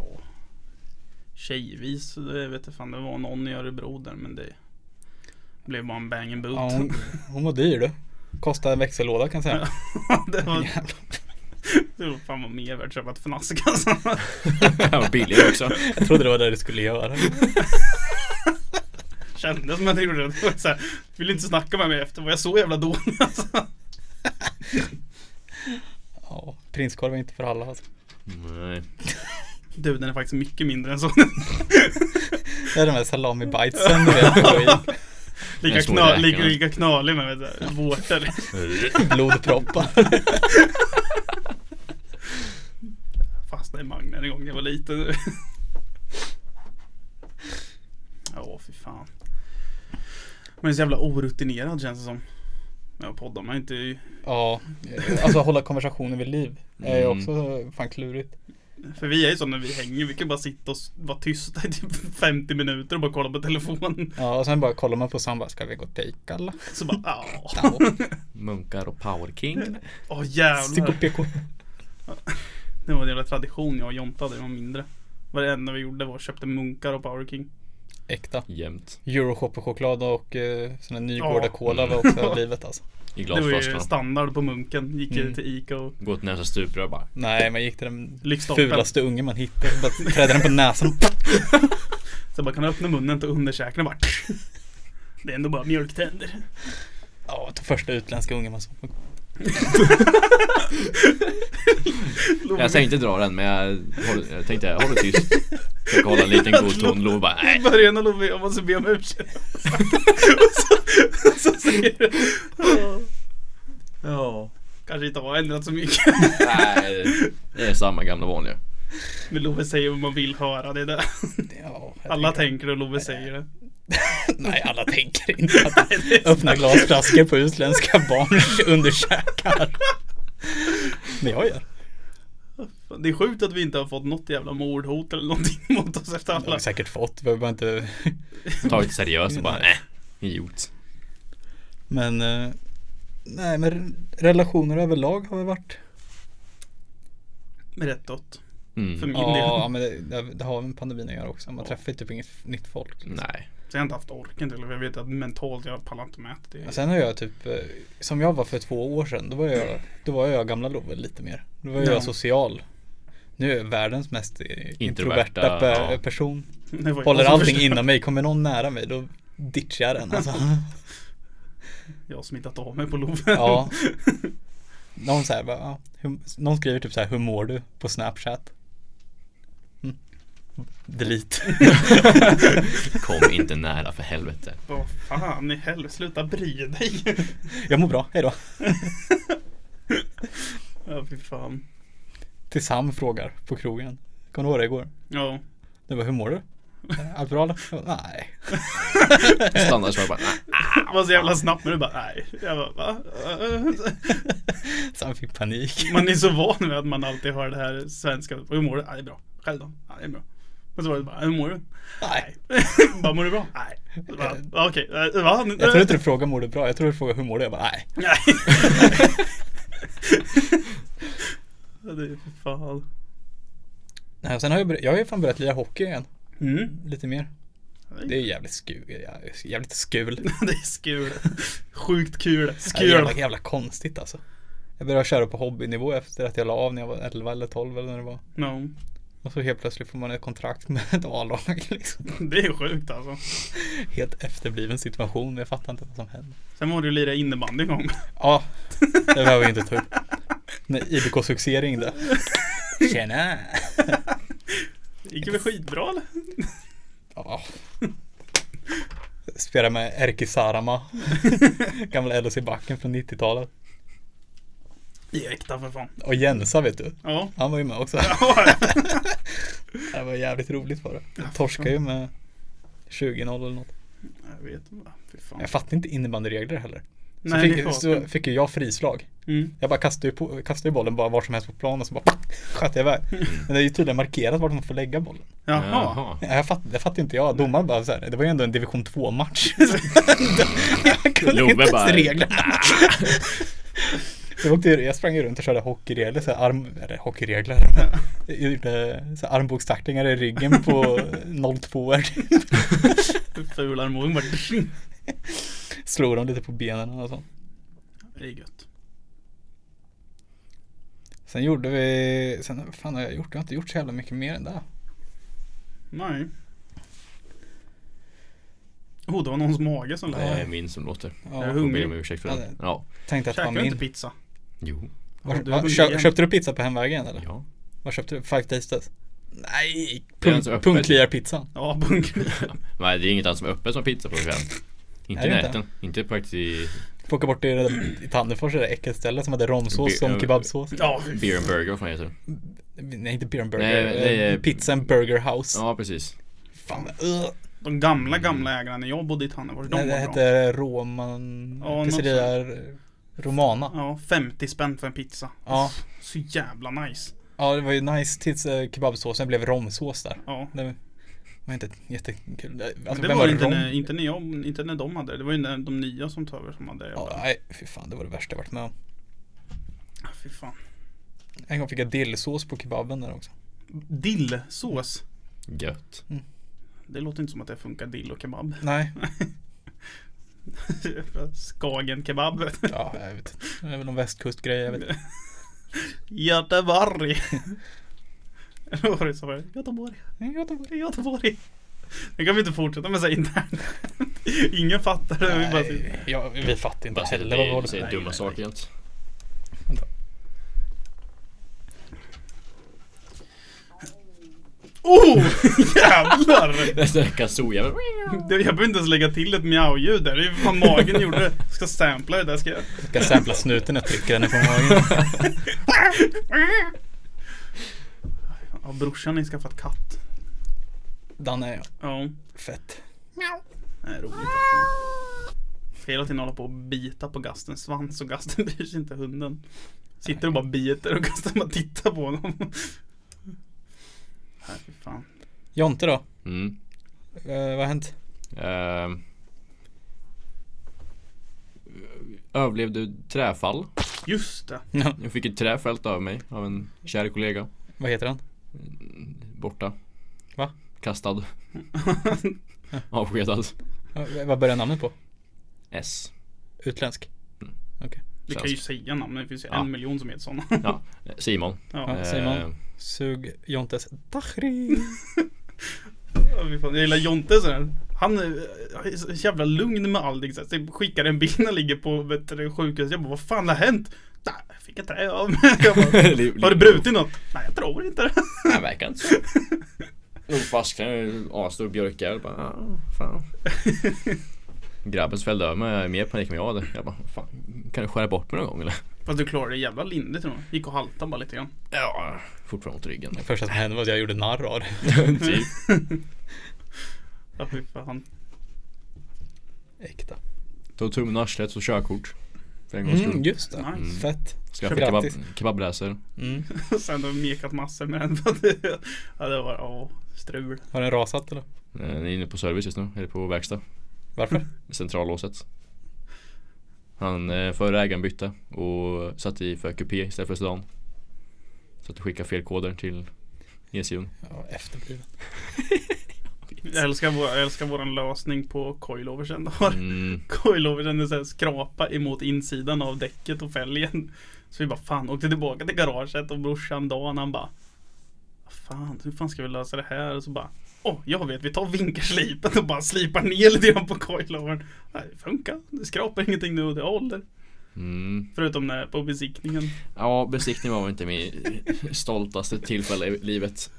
Speaker 1: Tjejvis, det vet jag fan. Det var någon i Örebro där, men det blev bara en bang and boot.
Speaker 2: Ja, hon, hon var dyr du. Kostade en växellåda kan jag säga.
Speaker 1: [laughs] det var,
Speaker 2: Jävlar.
Speaker 1: det var fan vad mer värt att köpa ett fnask alltså.
Speaker 3: [laughs] Och billigare också.
Speaker 2: Jag trodde det var det du skulle
Speaker 3: [laughs]
Speaker 2: göra.
Speaker 1: Kändes som att jag gjorde det. det. var så här, Vill inte snacka med mig efter, var jag så jävla dålig alltså?
Speaker 2: Ja, prinskorv är inte för alla alltså.
Speaker 3: Nej.
Speaker 1: Du, den är faktiskt mycket mindre än så.
Speaker 2: Det är de här salami bitesen du
Speaker 3: [laughs]
Speaker 2: vet.
Speaker 1: [laughs] Lika,
Speaker 3: Den står i
Speaker 1: kna,
Speaker 3: räkorna.
Speaker 1: lika, lika knalig med vet du, vårtor. [laughs]
Speaker 2: och Blodproppar.
Speaker 1: Fastnade i Magna en gång jag var liten. [laughs] Ja, fy fan. Man är så jävla orutinerad känns det som. Ja, poddar man är inte i-
Speaker 2: Ja, alltså hålla konversationer vid liv. Är ju
Speaker 3: Mm.
Speaker 2: också fan klurigt.
Speaker 1: För vi är ju så när vi hänger, vi kan bara sitta och s- vara tysta i typ [laughs] 50 minuter och bara kolla på telefonen.
Speaker 2: Ja, och sen bara kollar man på samba. Ska vi gå och take
Speaker 3: [laughs]
Speaker 2: alla?
Speaker 1: Så bara, ja.
Speaker 2: Ja,
Speaker 3: Munkar och Power King.
Speaker 1: Åh
Speaker 2: stick
Speaker 1: jävlar.
Speaker 2: och PK.
Speaker 1: Det var en jävla tradition jag och Jonta hade när jag var mindre. Varenda vi gjorde var att köpte munkar och Power King.
Speaker 2: Äkta.
Speaker 3: Jämt.
Speaker 2: Euroshopper-choklad och eh, sån här Nygårda
Speaker 1: Ja.
Speaker 2: cola var också livet alltså.
Speaker 3: I
Speaker 1: Det var ju
Speaker 3: glasflaska.
Speaker 1: standard på munken. Gick
Speaker 2: Mm.
Speaker 1: till Ica och
Speaker 3: Gå till nästa stuprör bara.
Speaker 2: Nej, man gick till den
Speaker 1: Lyxstolpen.
Speaker 2: fulaste ungen man hittade. Bara trädde den på näsan och
Speaker 1: Sen bara kan du öppna munnen och underkäken bara [laughs] Det är ändå bara mjölktänder.
Speaker 2: Ja, oh, första utländska ungen man såg.
Speaker 3: Jag tänkte dra den men jag, håll- jag tänkte jag håller tyst. Försöker hålla en liten god ton. Lo bara
Speaker 1: I
Speaker 3: nej.
Speaker 1: början av Love, jag måste be om ursäkt. [laughs] och så, och så säger du. "Ja,
Speaker 4: Ja.
Speaker 1: Kanske inte har ändrat så mycket.
Speaker 3: nej, Det är samma gamla vanliga.
Speaker 1: Men Love säger vad man vill höra. Det är det.
Speaker 2: Ja, jag
Speaker 1: Alla
Speaker 2: tänker-
Speaker 1: tänker det och Love säger det.
Speaker 2: Nej,
Speaker 1: [laughs]
Speaker 2: alla tänker inte att öppna glasflaskor på utländska barns [laughs] underkäkar. Men jag gör.
Speaker 1: Det är sjukt att vi inte har fått något jävla mordhot eller någonting [laughs] mot oss efter
Speaker 2: Jag har
Speaker 1: alla.
Speaker 2: säkert fått, behöver bara inte.
Speaker 3: Tagit seriöst och bara nej. Idiot.
Speaker 2: Men eh, nej, men relationer överlag har väl varit.
Speaker 1: Rättåt. För
Speaker 3: Mm.
Speaker 1: min
Speaker 2: Ja,
Speaker 1: del.
Speaker 2: men det, det, det har med pandemin att göra också. Man träffar ju typ inget nytt folk. Liksom.
Speaker 3: Nej.
Speaker 1: Så jag har inte haft orken till det. för Jag vet att mentalt jag pallar inte med det.
Speaker 2: Men sen har jag typ, eh, som jag var för två år sedan, då var jag, då var jag gamla Love lite mer. Då var jag
Speaker 1: Ja.
Speaker 2: social. Nu är jag världens mest eh, introverta,
Speaker 3: Introverta,
Speaker 2: pe-
Speaker 3: ja.
Speaker 2: person.
Speaker 1: [laughs] Det var alltså jag
Speaker 2: Håller
Speaker 1: som
Speaker 2: allting
Speaker 1: förstörde.
Speaker 2: inom mig. Kommer någon nära mig då ditchar jag den alltså.
Speaker 1: [laughs] Jag har smittat av mig på Love.
Speaker 2: Ja. Någon, så här, bara, ja, hur, någon skriver typ så här, hur mår du? På Snapchat. Mm. Delete. [laughs]
Speaker 3: Kom inte nära för helvete.
Speaker 1: [laughs]
Speaker 2: [laughs]
Speaker 1: Vad fan i helvete. Sluta bry dig. [laughs]
Speaker 2: Jag mår bra, hejdå.
Speaker 1: Ja fy fan.
Speaker 2: Till Sam frågar på krogen. Kommer du ihåg det igår?
Speaker 1: Ja.
Speaker 2: Det var, hur mår du? Allt bra eller? Jag bara, Nej. [laughs]
Speaker 3: Standardsvar bara "Ah." nej.
Speaker 1: Det var så jävla snabbt men du bara nej. Jag bara va? [laughs]
Speaker 2: Sam fick panik.
Speaker 1: Man är så van vid att man alltid hör det här svenska. Hur mår du? Ja det är bra. Själv då? Ja det är bra. Och så var det bara, hur mår du?
Speaker 2: Nej.
Speaker 1: [laughs] Bara mår du bra? Nej. Så bara, Okej, eh, va?
Speaker 2: Jag tror inte du frågar mår du bra? Jag tror du frågar hur mår du? Jag bara nej.
Speaker 1: [laughs]
Speaker 2: [laughs]
Speaker 1: Nej. Ja, det är för fan.
Speaker 2: nej och sen har jag, bör- jag har ju fan börjat lira hockey igen.
Speaker 1: Mm.
Speaker 2: Lite mer. Det är jävligt skul. Jävligt skul.
Speaker 1: [laughs] Det är skul. Sjukt kul.
Speaker 2: Ja, det är jävla,
Speaker 1: Skul.
Speaker 2: jävla konstigt alltså. Jag började köra på hobbynivå efter att jag la av när jag var 11 eller 12 eller när det var.
Speaker 1: No.
Speaker 2: Och så helt plötsligt får man ett kontrakt med ett A-lag liksom.
Speaker 1: Det är sjukt alltså.
Speaker 2: Helt efterbliven situation. Jag fattar inte vad som hände.
Speaker 1: Sen var du lira innebandy en gång.
Speaker 2: Ja, det behöver vi inte ta upp. När IBK
Speaker 1: [laughs]
Speaker 2: Succé ringde. Tjena!
Speaker 1: Gick det väl skitbra eller?
Speaker 2: Ja. Spelade med
Speaker 1: [laughs]
Speaker 2: Erkki Sarama. Gamla LHC-backen från 90-talet.
Speaker 1: Direkta för fan.
Speaker 2: Och Jensa vet du.
Speaker 1: Ja. [laughs]
Speaker 2: Han var ju med också. Det var jävligt roligt var det. Jag torskade ju med 20-0 eller något.
Speaker 1: Jag vet inte. Fy fan.
Speaker 2: Jag fattar inte innebandyregler heller. Så,
Speaker 1: Nej, det är
Speaker 2: fick, så
Speaker 1: klart.
Speaker 2: fick ju jag frislag.
Speaker 1: Mm.
Speaker 2: Jag bara kastade ju, på, kastade ju bollen bara var som helst på planen och så bara
Speaker 1: [laughs]
Speaker 2: sköt jag iväg.
Speaker 1: Mm.
Speaker 2: Men det är ju tydligen markerat vart man får lägga bollen.
Speaker 1: [laughs] Jaha.
Speaker 2: Ja, Jag fatt, det fattar inte jag. Domaren bara så här, det var ju ändå en division 2-match. jag kunde
Speaker 3: Love
Speaker 2: inte ens
Speaker 3: bara-
Speaker 2: reglerna. Så jag, åkte, ju- jag sprang ju runt och körde hockeyregler, så här arm, eller hockeyregler. Jag gjorde så här armbågstacklingar i ryggen på 02 er
Speaker 1: Ful armbågen bara.
Speaker 2: Slog dem lite på benen och sånt.
Speaker 1: Det är gött.
Speaker 2: Sen gjorde vi, sen vad fan har jag gjort? Jag har inte gjort så jävla mycket mer än det.
Speaker 1: Nej. Oh, det var någons mage som
Speaker 3: Det är
Speaker 1: lät.
Speaker 3: min som låter.
Speaker 2: Ja,
Speaker 1: Jag är
Speaker 3: Jag ber om
Speaker 1: hungrig.
Speaker 3: ursäkt för den. Ja.
Speaker 2: tänkte att det var
Speaker 1: Käkar du inte
Speaker 2: min.
Speaker 1: pizza?
Speaker 3: Jo.
Speaker 1: Ja,
Speaker 2: Var,
Speaker 1: du är
Speaker 2: var,
Speaker 1: hungrig
Speaker 2: kö,
Speaker 1: igen.
Speaker 2: köpte du pizza på hemvägen eller?
Speaker 3: Ja.
Speaker 2: Vad köpte du? Five Tastes? Nej!
Speaker 3: Det är alltså
Speaker 2: Punk,
Speaker 3: öppet.
Speaker 2: Punkliarpizzan.
Speaker 1: Ja, bunkern.
Speaker 2: [laughs]
Speaker 3: Nej det är inget annat som är öppet som pizza på kvällen. Inte
Speaker 2: Är
Speaker 3: i
Speaker 2: det inte?
Speaker 3: näten. Inte faktiskt i
Speaker 2: Får åka bort till det där- i Tandefors, det där äckelstället som hade romsås
Speaker 3: Be- eh,
Speaker 2: som kebabsås.
Speaker 1: Ja,
Speaker 3: beer and burger. Vad fan heter det?
Speaker 2: Nej, inte beer and burger.
Speaker 3: Nej, det är-
Speaker 2: eh, Pizza and burger house.
Speaker 3: Ja precis.
Speaker 2: Fan, uh.
Speaker 1: de gamla, gamla ägarna när jag bodde i Tannefors, de
Speaker 2: Nej, det
Speaker 1: var bra.
Speaker 2: hette Roman...
Speaker 1: Ja, något
Speaker 2: pizzeria Romana.
Speaker 1: Ja, 50 spänn för en pizza. Alltså,
Speaker 2: Ja.
Speaker 1: Så jävla nice.
Speaker 2: ja, det var ju nice tills eh, kebabsåsen blev romsås där.
Speaker 1: Ja.
Speaker 2: Det var inte jättekul. Alltså,
Speaker 1: Men det
Speaker 2: vem
Speaker 1: var det inte
Speaker 2: rom?
Speaker 1: när, inte, när jag, inte när de hade det. Det var ju när de nya som tog över som hade det.
Speaker 2: Ja, nej, fy fan, det var det värsta jag varit med om.
Speaker 1: Ah, Fy fan.
Speaker 2: En gång fick jag dillsås på kebaben där också.
Speaker 1: Dillsås.
Speaker 3: Gött.
Speaker 1: Det låter inte som att det funkar dill och kebab. [laughs]
Speaker 2: Nej,
Speaker 1: Skagen kebab. [laughs]
Speaker 2: ja, jag vet inte. Det är väl någon västkustgrej, jag vet inte.
Speaker 1: Göteborg. [laughs] Eller vad var det som var? Göteborg.
Speaker 2: Göteborg.
Speaker 1: Göteborg. Nu kan vi inte fortsätta med så här internt. [laughs] Ingen fattar det. Vi bara sitter-
Speaker 2: Nej, ja, vi fattar inte
Speaker 3: Bara
Speaker 2: heller vad vi håller på
Speaker 3: säger
Speaker 2: med.
Speaker 3: dumma saker helt.
Speaker 1: Oh! [laughs] Jävlar!
Speaker 3: Nästa [laughs] vecka sojabär.
Speaker 1: Det- Jag behöver inte ens lägga till ett mjau-ljud där. Det är ju fan
Speaker 3: [laughs]
Speaker 1: magen gjorde det. Ska sampla det där ska jag.
Speaker 2: Jag ska sampla snuten jag trycker henne på magen.
Speaker 1: Ja, brorsan har ju skaffat katt.
Speaker 2: Danne är jag.
Speaker 1: Ja.
Speaker 2: Fett.
Speaker 1: Det är roligt. alltså. Ska hela tiden hålla på och bita på Gastens svans och Gasten [laughs] bryr sig inte hunden. Sitter och bara biter och Gasten bara tittar på honom. Nej fy fan.
Speaker 2: Jonte då?
Speaker 3: Mm.
Speaker 2: Eh, vad har hänt?
Speaker 3: Ehm. överlevde träfall.
Speaker 1: Just det.
Speaker 3: Jag fick ett trä fällt över mig av en kär kollega.
Speaker 2: vad heter han?
Speaker 3: Borta.
Speaker 2: Va? [laughs]
Speaker 3: Kastad. Avskedad.
Speaker 2: Eh, vad börjar namnet på?
Speaker 3: S.
Speaker 2: Utländsk?
Speaker 1: Du kan ju säga namn. Det finns ju
Speaker 3: Ja.
Speaker 1: en miljon som heter sådana.
Speaker 3: Ja, Simon.
Speaker 1: Ja.
Speaker 2: Ja. Simon.
Speaker 3: Ehm,
Speaker 2: Sug Jontes Dahri.
Speaker 1: Ja, fy fan. Jag gillar Jonte sådär. Han är eh, så jävla lugn med allt. liksom. Typ skickar en bild när han ligger på vet du, sjukhuset. Jag bara vad fan har hänt? Nej, jag fick ett trä av mig. Jag bara,
Speaker 3: li-
Speaker 1: Har du
Speaker 3: li-
Speaker 1: brutit något? Nej jag tror inte det.
Speaker 3: Nej, verkar inte så. Låg fast en asstor björka. Jag bara, ah, fan. Grabben som fällde över mig jag är mer panik än jag hade. Jag bara, fan, kan du skära bort mig någon gång eller?
Speaker 1: Fast du klarade det jävla lindrigt tror jag. Gick och haltade bara lite grann.
Speaker 3: Ja, fortfarande ont
Speaker 2: [laughs]
Speaker 3: i ryggen.
Speaker 2: Det första som hände var att jag gjorde narr av det.
Speaker 3: typ.
Speaker 1: Ja, fy fan. [laughs]
Speaker 2: Äkta.
Speaker 3: Tog tummen ur arslet och körkort. För en gångs skull.
Speaker 2: Mm, just det.
Speaker 1: Nice.
Speaker 2: Fett.
Speaker 3: Skaffade
Speaker 2: Kör.
Speaker 3: kebab,
Speaker 2: Grattis.
Speaker 3: kebabräser.
Speaker 2: Mm.
Speaker 1: Sen har vi mekat massor med den. för att det- ja det var åh, strul.
Speaker 2: Har den rasat eller?
Speaker 3: Eh, Den är inne på service just nu, eller på verkstad.
Speaker 2: Varför?
Speaker 3: Centrallåset. Han, eh, förra ägaren bytte och satte i för kupé istället för sedan. Så att du skickar fel koder till E ECUn.
Speaker 2: Ja, efterbliven.
Speaker 1: Jag älskar, vår, jag älskar våran lösning på coiloversen. då.
Speaker 3: Mm,
Speaker 1: Coilovern är såhär skrapa emot insidan av däcket och fälgen. Så vi bara fan åkte tillbaka till garaget och brorsan Dan han bara "Vad Fan, hur fan ska vi lösa det här? Och så bara Åh, jag vet, vi tar vinkerslipen och bara slipar ner lite grann på coilovern. Nej, det funkar. Det skrapar ingenting nu och det håller.
Speaker 3: mm.
Speaker 1: Förutom när på besiktningen.
Speaker 3: Ja, besiktning var väl inte min stoltaste tillfälle i livet.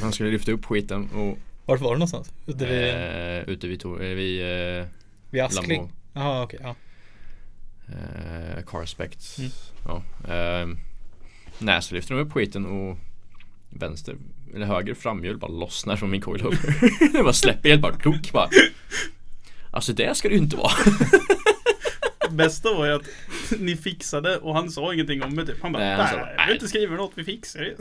Speaker 3: Han skulle lyfta upp skiten och
Speaker 2: Vart var du någonstans? Ute vid,
Speaker 3: eh, ute vid, Tor- eh, vid eh,
Speaker 2: vid
Speaker 3: Lambo.
Speaker 2: Askling? Jaha, okej. ja.
Speaker 3: Eh, Carspect.
Speaker 2: Mm.
Speaker 3: Ja. ehm, nej, så lyfter de upp skiten och vänster eller höger framhjul bara lossnar från min [laughs] coilover. det bara släpper helt bara klok bara. Alltså det ska det ju inte vara.
Speaker 1: Bästa var ju att [laughs] ni fixade och han sa ingenting om det typ. Han bara
Speaker 3: Nej,
Speaker 1: nej,
Speaker 3: han sa,
Speaker 1: jag
Speaker 3: "Nej."
Speaker 1: vill inte skriva något, vi fixar det.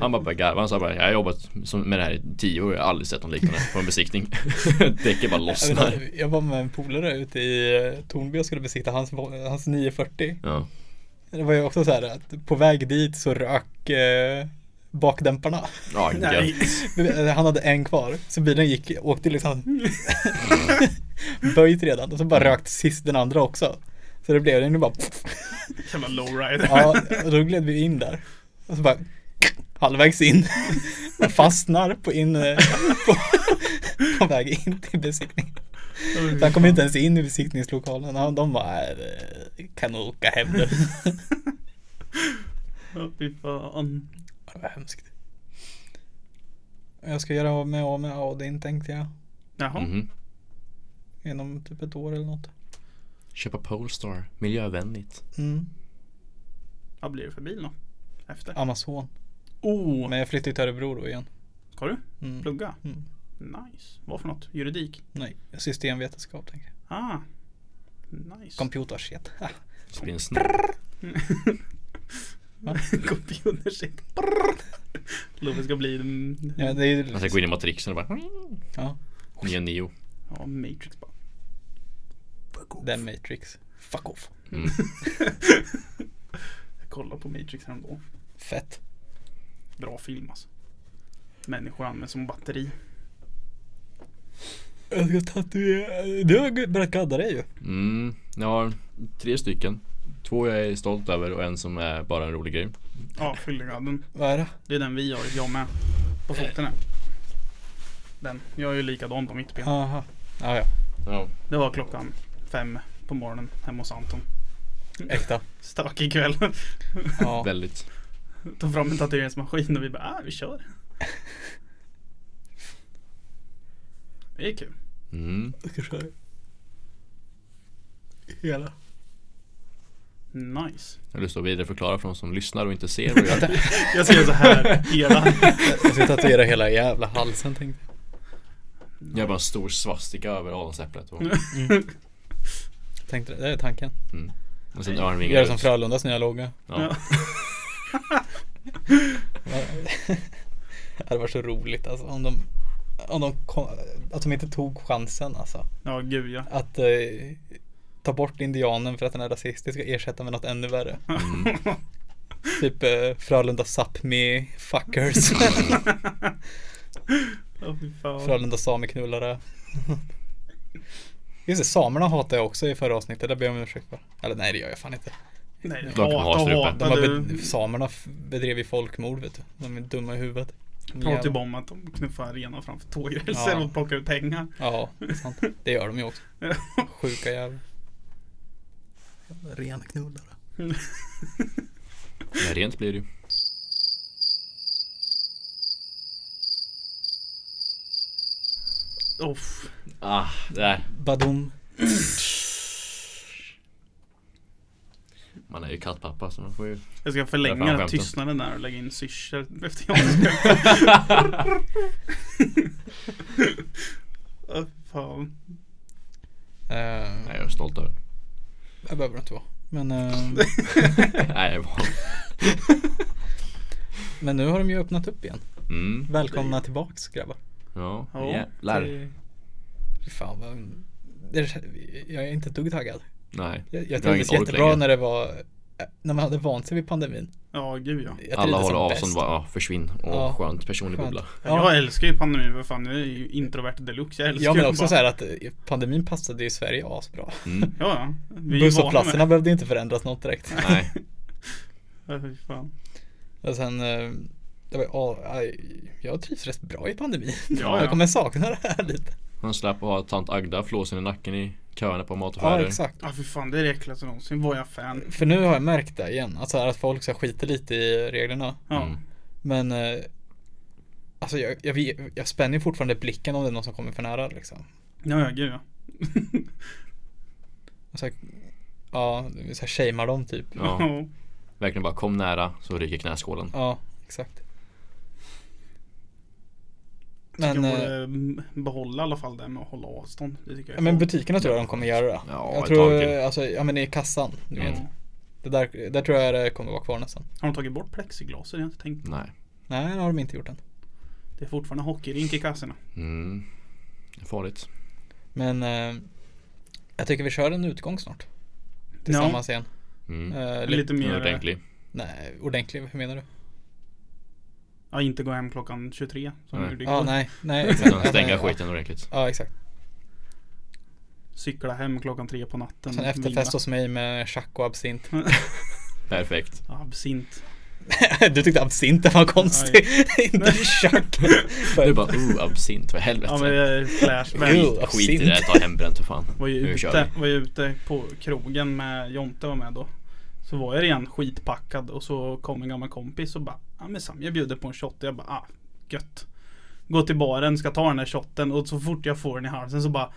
Speaker 3: Han bara började garva. Han sa bara jag har jobbat som- med det här i tio år. Jag har aldrig sett något liknande på en besiktning. [laughs] Däcket bara
Speaker 2: Jag, vet
Speaker 3: lossnar.
Speaker 2: inte, jag var med en polare ute i eh, Tornby och skulle besikta hans, hans 940.
Speaker 3: Ja.
Speaker 2: Det var ju också så här att på väg dit så rök eh, bakdämparna.
Speaker 3: Ja,
Speaker 1: [laughs] Nej.
Speaker 3: gött.
Speaker 2: Han hade en kvar, så bilen gick, åkte liksom [laughs] böjt redan och så bara rökt sist den andra också. Så det blev den ju bara
Speaker 1: Jävla lowrider.
Speaker 2: Ja, och då gled vi in där. Och så bara halvvägs in. Jag fastnar på, in, eh, på, på väg in till besiktningen. Så han kom inte ens in i besiktningslokalen. Han- De bara, "Äh, kan du åka hem nu.
Speaker 1: Ja, fy fan.
Speaker 2: Det var hemskt. Jag ska göra av mig av med Audin tänkte jag.
Speaker 1: Jaha.
Speaker 3: Mhm.
Speaker 2: Inom typ ett år eller något.
Speaker 3: Köpa Polestar. Miljövänligt.
Speaker 2: Mm.
Speaker 1: Vad blir det för bil då? Efter?
Speaker 2: Amazon.
Speaker 1: Oh!
Speaker 2: Men jag flyttar till Örebro då igen.
Speaker 1: Ska du
Speaker 2: Mm.
Speaker 1: plugga?
Speaker 2: Mm.
Speaker 1: Nice. Vad för något? Juridik?
Speaker 2: Nej, systemvetenskap tänker jag.
Speaker 1: Ah. Nice. [laughs]
Speaker 2: Computershit.
Speaker 3: Så blir det en snurr.
Speaker 1: Computer shit. Love ska bli... mm,
Speaker 2: Ja, det är ju
Speaker 3: Man ska gå in i matrixen och bara
Speaker 2: ja,
Speaker 3: nya neo.
Speaker 1: Ja, Matrix bara.
Speaker 2: den Matrix. Fuck off.
Speaker 3: Mm.
Speaker 1: Jag kollade på Matrix häromdagen.
Speaker 2: Fett.
Speaker 1: Bra film alltså. Människor används som batteri.
Speaker 2: Jag ska tatuera. Du har börjat gadda dig ju.
Speaker 3: Mm, jag har tre stycken. Två jag är stolt över och en som är bara en rolig grej.
Speaker 1: Ja, fyllegadden.
Speaker 2: Vad är det?
Speaker 1: Det är den vi har, jag med. På foten här. Den. Jag är ju likadan på mitt ben.
Speaker 2: Aha. Ja, ja.
Speaker 3: Ja.
Speaker 1: Det var klockan fem på morgonen hemma hos Anton.
Speaker 2: Äkta.
Speaker 1: Stökig kväll.
Speaker 2: Ja.
Speaker 3: Väldigt.
Speaker 1: Tog fram en tatueringsmaskin och vi bara, ah, vi kör. Det är kul.
Speaker 3: Mm.
Speaker 4: Kanske hela.
Speaker 1: Nice.
Speaker 3: Jag har lust att vidareförklara för de som lyssnar och inte [laughs] ser vad jag gör.
Speaker 1: Jag ska göra så här hela.
Speaker 2: Jag ska tatuera hela jävla halsen tänkte jag.
Speaker 3: Jag har bara en stor svastika över adamsäpplet [laughs] och,
Speaker 2: Tänkte det, det är tanken.
Speaker 3: och sen örnvingar
Speaker 2: Gör det som
Speaker 3: ut.
Speaker 2: Frölundas nya logga.
Speaker 3: [laughs] ja.
Speaker 2: [laughs] Det hade varit så roligt alltså om de om de, kom, att de inte tog chansen alltså.
Speaker 1: Ja, gud ja.
Speaker 2: Att eh, ta bort indianen för att den är rasistisk och ersätta med något ännu värre.
Speaker 3: Mm.
Speaker 2: Typ eh, Frölunda Sápmi fuckers.
Speaker 1: Åh, fy fan.
Speaker 2: Frölunda sameknullare. Just det, samerna hatar jag också i förra avsnittet. Det ber jag om ursäkt för. Eller nej, det gör jag fan inte.
Speaker 1: Nej,
Speaker 3: kan man ha
Speaker 1: hata,
Speaker 3: strupen.
Speaker 2: De
Speaker 1: hata
Speaker 2: har
Speaker 1: du.
Speaker 2: be- samerna f- bedrev ju folkmord vet du. De är dumma i huvudet. De
Speaker 1: Pratar ju
Speaker 2: jävla-
Speaker 1: bara om att de knuffar arenan framför tågrälsen
Speaker 2: Ja.
Speaker 1: och plockar ut pengar.
Speaker 2: Ja, det är sant. Det gör de ju
Speaker 3: [laughs]
Speaker 2: också. Sjuka jävlar. Rena knullare.
Speaker 3: Men rent blir det ju.
Speaker 1: Uff.
Speaker 3: Ah, där.
Speaker 2: Badum.
Speaker 3: Man är ju kattpappa så man får ju
Speaker 1: Jag ska
Speaker 3: Där fan
Speaker 1: förlänga den
Speaker 3: skämten.
Speaker 1: tystnaden där och lägga in syrsor efter jag
Speaker 3: [laughs]
Speaker 1: [laughs] Åh, Fan.
Speaker 2: Eh,
Speaker 3: Nej jag är stolt över
Speaker 2: det behöver det inte vara. Men, eh,
Speaker 3: [laughs] det. Nej jag var
Speaker 2: men nu har de ju öppnat upp igen.
Speaker 3: mm.
Speaker 2: Välkomna tillbaks grabbar.
Speaker 3: Ja,
Speaker 1: Ja,
Speaker 3: jävlar
Speaker 2: Det- Fy Fan vad... Det, jag är inte ett dugg taggad.
Speaker 3: Nej
Speaker 2: Jag, jag
Speaker 3: har
Speaker 2: trivdes
Speaker 3: ingen ork
Speaker 2: jättebra
Speaker 3: längre.
Speaker 2: när det var... När man hade vant sig vid pandemin.
Speaker 1: Ja, gud ja.
Speaker 2: Jag
Speaker 3: Alla
Speaker 2: trivdes
Speaker 3: håller
Speaker 2: som
Speaker 3: avstånd
Speaker 2: bäst.
Speaker 3: bara, ja försvinn och
Speaker 2: Ja.
Speaker 3: skönt personlig
Speaker 2: Skönt.
Speaker 3: bubbla
Speaker 2: [laughs] Ja.
Speaker 1: Jag älskar ju pandemin för fan, jag är ju introvert deluxe. Jag älskar
Speaker 2: Ja men
Speaker 1: ju
Speaker 2: också
Speaker 1: bara-
Speaker 2: så här att eh, pandemin passade ju Sverige asbra.
Speaker 3: mm.
Speaker 1: Ja, ja. Vi är ju vana med
Speaker 2: Busshållplatserna behövde inte förändras något direkt.
Speaker 3: Nej,
Speaker 1: det. Ja, fy fan.
Speaker 2: Och sen, eh, det var, ja, aj, jag trivs rätt bra i pandemin.
Speaker 1: Ja,
Speaker 2: Jag
Speaker 1: ja.
Speaker 2: kommer sakna det här lite.
Speaker 3: man slapp ha tant Agda flåsen i nacken i köerna på
Speaker 2: Ja,
Speaker 3: mataffärer
Speaker 2: exakt.
Speaker 1: Ja, fy fan, det är det äckligaste någonsin. Var jag fan.
Speaker 2: För nu har jag märkt det igen, alltså att folk så här skiter lite i reglerna.
Speaker 1: Ja.
Speaker 3: Mm.
Speaker 2: Men eh, alltså jag, jag, vet- jag spänner ju fortfarande blicken om det är någon som kommer för nära liksom.
Speaker 1: Ja, ja, gud ja.
Speaker 2: Och så här, ja, så här shamear dem typ.
Speaker 3: Ja,
Speaker 1: [laughs] Ja.
Speaker 3: verkligen bara kom nära så ryker knäskålen
Speaker 2: Ja, exakt.
Speaker 1: Men,
Speaker 2: Men, eh,
Speaker 1: mm, behålla i alla fall det här med att hålla avstånd. Det tycker jag
Speaker 2: ja,
Speaker 1: är
Speaker 2: men
Speaker 1: farligt.
Speaker 2: butikerna tror jag de kommer göra det.
Speaker 3: Ja,
Speaker 2: jag
Speaker 3: ett
Speaker 2: tror,
Speaker 3: tag till. Mm.
Speaker 2: alltså, ja men i kassan, du
Speaker 1: Ja.
Speaker 2: vet. Det där, där tror jag det kommer vara kvar nästan.
Speaker 1: Har de tagit bort plexiglasen? Jag har inte tänkt.
Speaker 3: Nej
Speaker 2: Nej, det har de inte gjort än.
Speaker 1: Det är fortfarande hockeyrink i kassorna.
Speaker 3: mm. Farligt
Speaker 2: Men eh, jag tycker vi kör en utgång snart. Tillsammans igen.
Speaker 3: mm.
Speaker 2: Eh,
Speaker 1: Ja, lite
Speaker 3: Den är
Speaker 1: mer.
Speaker 3: ordentlig
Speaker 2: Nej, ordentlig, hur menar du?
Speaker 1: eh, Ja, inte gå hem klockan 23 som
Speaker 3: Nej.
Speaker 1: du gjorde
Speaker 2: Ja,
Speaker 1: igår.
Speaker 2: nej,
Speaker 3: [laughs]
Speaker 2: nej
Speaker 3: Den
Speaker 2: exakt.
Speaker 3: Stänga
Speaker 2: Ja, men-
Speaker 3: skiten ordentligt
Speaker 2: Ja, exakt.
Speaker 1: Cykla hem klockan 3 på natten.
Speaker 2: Sen efterfest hos mig med chack och absint. [laughs]
Speaker 3: Perfekt
Speaker 1: vila. Absint.
Speaker 2: du tyckte absint var konstig. [laughs] Inte chack.
Speaker 3: Du bara, oh absint, för helvete
Speaker 1: Ja men det är flashback.
Speaker 2: Jo.
Speaker 3: Skit, skit i
Speaker 2: absint.
Speaker 3: det, här, ta hembränt för fan
Speaker 1: Var ju,
Speaker 3: Nu kör
Speaker 1: ute, var ju ute på krogen med Jonte var med då. Så var jag redan skitpackad och så kom en gammal kompis och bara Ja men Sam jag bjuder på en shot och jag bara ah gött. Gå till baren, ska ta den här shotten och så fort jag får den i halsen så bara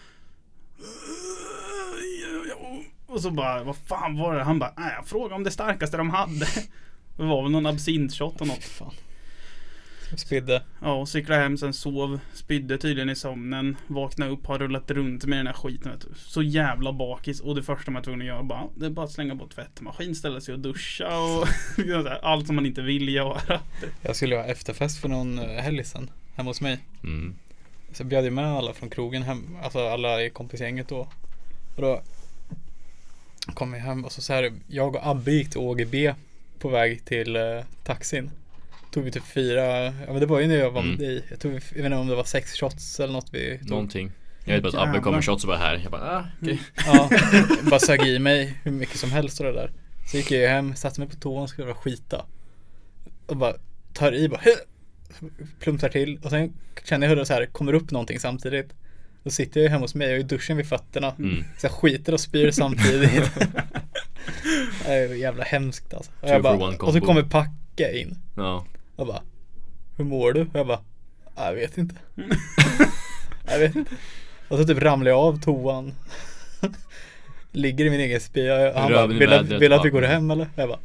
Speaker 1: Och så bara vad fan var det? Han bara nej jag frågade om det starkaste de hade. Det var väl någon absintshot och något.
Speaker 2: Fan. Spydde.
Speaker 1: Ja, och cyklade hem, sen sov, spydde tydligen i sömnen, vaknade upp, har rullat runt med den här skiten. Vet du. Så jävla bakis. Och det första man är tvungen att göra bara, det är bara att slänga på tvättmaskin, ställa sig och duscha och [laughs] så här, allt som man inte vill göra.
Speaker 2: Jag skulle ha efterfest för någon eh, helg sen. Hemma hos mig.
Speaker 3: mm.
Speaker 2: Så jag bjöd ju med alla från krogen hem, alltså alla i kompisgänget då. Och då kom jag hem och så, så här, jag och Abbe gick till ÅGB på väg till eh, taxin. Tog vi typ fyra, ja men det var ju när jag var med
Speaker 3: Mm.
Speaker 2: dig. Jag, tog, jag vet inte om det var sex shots eller något vi tog.
Speaker 3: Någonting Jag vet bara att Abbe
Speaker 1: Jävlar.
Speaker 3: kommer med shots och bara här Jag bara, ah, okej
Speaker 2: Ja, bara sög i mig hur mycket som helst och det där. Så gick jag ju hem, satte mig på toan, skulle bara skita. Och bara tar i bara plumsar till och sen känner jag hur det så här kommer upp någonting samtidigt. Då sitter jag ju hemma hos mig, jag är i duschen vid fötterna.
Speaker 3: mm.
Speaker 2: Så jag skiter och spyr
Speaker 3: [laughs]
Speaker 2: samtidigt. det är jävla hemskt alltså. Och,
Speaker 3: Two
Speaker 2: jag
Speaker 3: for
Speaker 2: bara,
Speaker 3: one
Speaker 2: och så
Speaker 3: combo.
Speaker 2: kommer pack gick jag in.
Speaker 3: Ja.
Speaker 2: Jag bara, hur mår du? Jag bara, jag vet inte. jag vet inte. Och så typ ramlade jag av toan. Ligger i min egen spya. Han bara,
Speaker 3: Röven i
Speaker 2: vill, jag-
Speaker 3: vädret,
Speaker 2: vill jag
Speaker 3: va?"
Speaker 2: att vi går hem eller? Jag bara,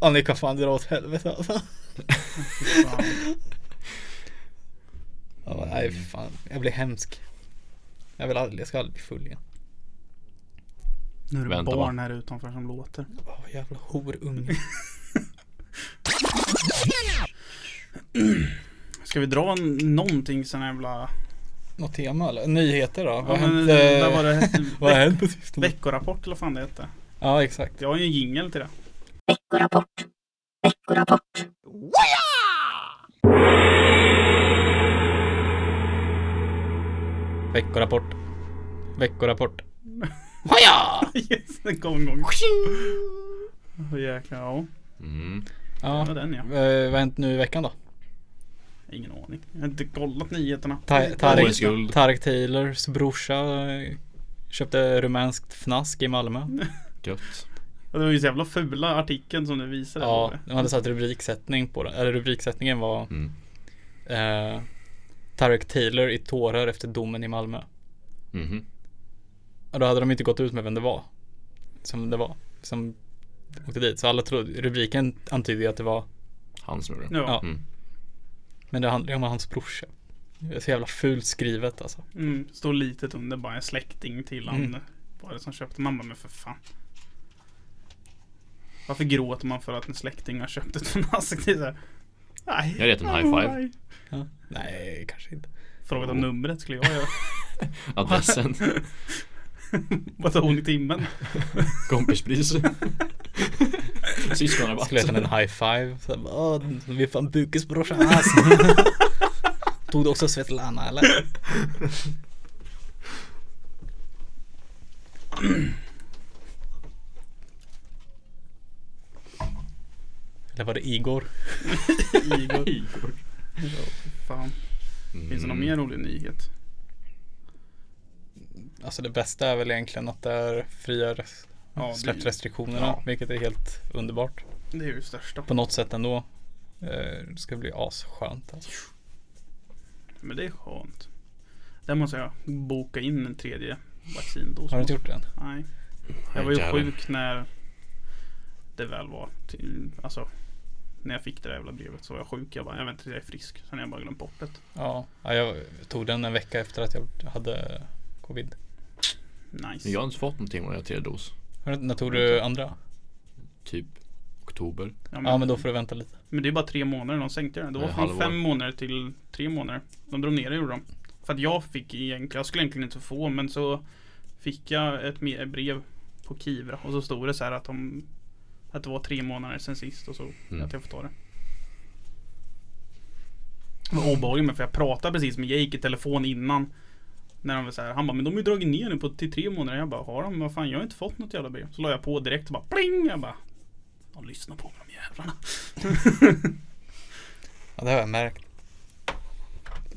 Speaker 2: ja ni kan fan dra åt helvete alltså.
Speaker 1: Fan.
Speaker 2: Jag bara, nej för fan, jag blir hemsk. Jag vill aldrig, jag ska aldrig bli full igen.
Speaker 1: Nu är det
Speaker 3: Vänta, va?
Speaker 1: barn här utanför som låter.
Speaker 2: Åh jävla horunge.
Speaker 1: Ska vi dra n- någonting sån här jävla...
Speaker 2: Något tema eller? Nyheter då? Vad har
Speaker 1: Ja, men, vad
Speaker 2: hänt?
Speaker 1: var
Speaker 2: eh,
Speaker 1: det?
Speaker 2: [laughs] Vad har
Speaker 1: Veck-
Speaker 2: hänt på sistone?
Speaker 1: Veckorapport eller vad fan det hette.
Speaker 2: Ja exakt.
Speaker 1: Jag har ju en jingel till det. [laughs]
Speaker 2: Veckorapport. Veckorapport.
Speaker 1: yes, den kom en gång. Åh, Jäklar, ja.
Speaker 3: Mm.
Speaker 1: Det
Speaker 2: Ja.
Speaker 1: var den ja.
Speaker 2: Eh, vad har hänt nu i veckan då?
Speaker 1: Ingen aning. Jag har inte kollat nyheterna.
Speaker 2: Ta-
Speaker 3: OS
Speaker 2: Tarik,
Speaker 3: guld.
Speaker 2: Tarik Taylors brorsa eh, köpte rumänskt fnask i Malmö.
Speaker 3: Gött.
Speaker 1: Ja, Det var ju så jävla fula artikeln som du visade.
Speaker 2: Ja,
Speaker 1: eller?
Speaker 2: de hade satt rubriksättning på den. Eller rubriksättningen var
Speaker 3: Mm.
Speaker 2: eh, Tarik Taylor i tårar efter domen i Malmö.
Speaker 3: Mhm.
Speaker 2: Och då hade de inte gått ut med vem det var. Som det var. Som åkte dit. Så alla trodde, rubriken antydde ju att det var,
Speaker 3: Han snurrar.
Speaker 1: Ja.
Speaker 2: Ja.
Speaker 3: Mm.
Speaker 2: men det handlade ju om hans brorsa. Det är så jävla fult skrivet alltså.
Speaker 1: Mm, står litet under bara en släkting till han.
Speaker 2: Mm.
Speaker 1: Var det som köpte mamma men för fan. Varför gråter man för att en släkting har köpt ett fnask? Det är så här, Nej.
Speaker 3: Jag hade gett en high five.
Speaker 1: Aj.
Speaker 2: Ja. Nej, kanske inte.
Speaker 1: Frågat
Speaker 2: Oh.
Speaker 1: om numret skulle jag göra. [laughs]
Speaker 3: Adressen.
Speaker 1: Vad tog hon i timmen? [laughs]
Speaker 3: Kompispris.
Speaker 2: Jag
Speaker 3: Syskonrabatt.
Speaker 2: skulle gett henne en high five. Så, här, Åh, vi är fan Bukes [laughs] brorsa. ass." Tog du också Svetlana eller? Eller var det Igor? [laughs]
Speaker 1: Igor. Fan. Finns
Speaker 3: "Mm."
Speaker 1: det
Speaker 2: Mm.
Speaker 1: någon mer rolig nyhet?
Speaker 2: Alltså det bästa är väl egentligen att det är fria res-
Speaker 1: Ja, det-
Speaker 2: släppt restriktionerna,
Speaker 1: ja.
Speaker 2: vilket är helt underbart.
Speaker 1: Det är ju det största.
Speaker 2: På något sätt ändå. Eh, Det ska bli asskönt alltså.
Speaker 1: Men det är skönt. Där måste jag boka in en tredje vaccindos.
Speaker 2: Har du inte gjort det än?
Speaker 1: Nej. Jag var ju sjuk när det väl var. Till, alltså, när jag fick det där jävla brevet så var jag sjuk. Jag bara, jag väntar tills jag är frisk. Sen har jag bara glömt bort det.
Speaker 2: Ja, ja, jag tog den en vecka efter att jag hade covid.
Speaker 1: Nice.
Speaker 3: Jag har inte fått någonting om jag har tredje dos.
Speaker 2: Har du- När tog du andra?
Speaker 3: Typ oktober.
Speaker 1: Ja, men,
Speaker 2: Ja, men då får du vänta lite.
Speaker 1: men det är bara tre månader de sänkte det. Det var
Speaker 3: Det är
Speaker 1: från
Speaker 3: halvår.
Speaker 1: fem månader till tre månader. De drog ner det gjorde de. För att jag fick egentligen, jag skulle egentligen inte få men så fick jag ett me- brev på Kivra och så stod det så här att de att det var tre månader sen sist och så
Speaker 3: Mm.
Speaker 1: att jag får ta det. Det var obehagligt men för jag pratade precis med Jake i telefon innan. När han var så här, han bara men de har ju dragit ner nu på till tre månader. Jag bara har de? Vad fan jag har inte fått något jävla brev. Så la jag på direkt och bara pling! Jag bara de lyssnar på mig de jävlarna.
Speaker 2: Ja, det har jag märkt.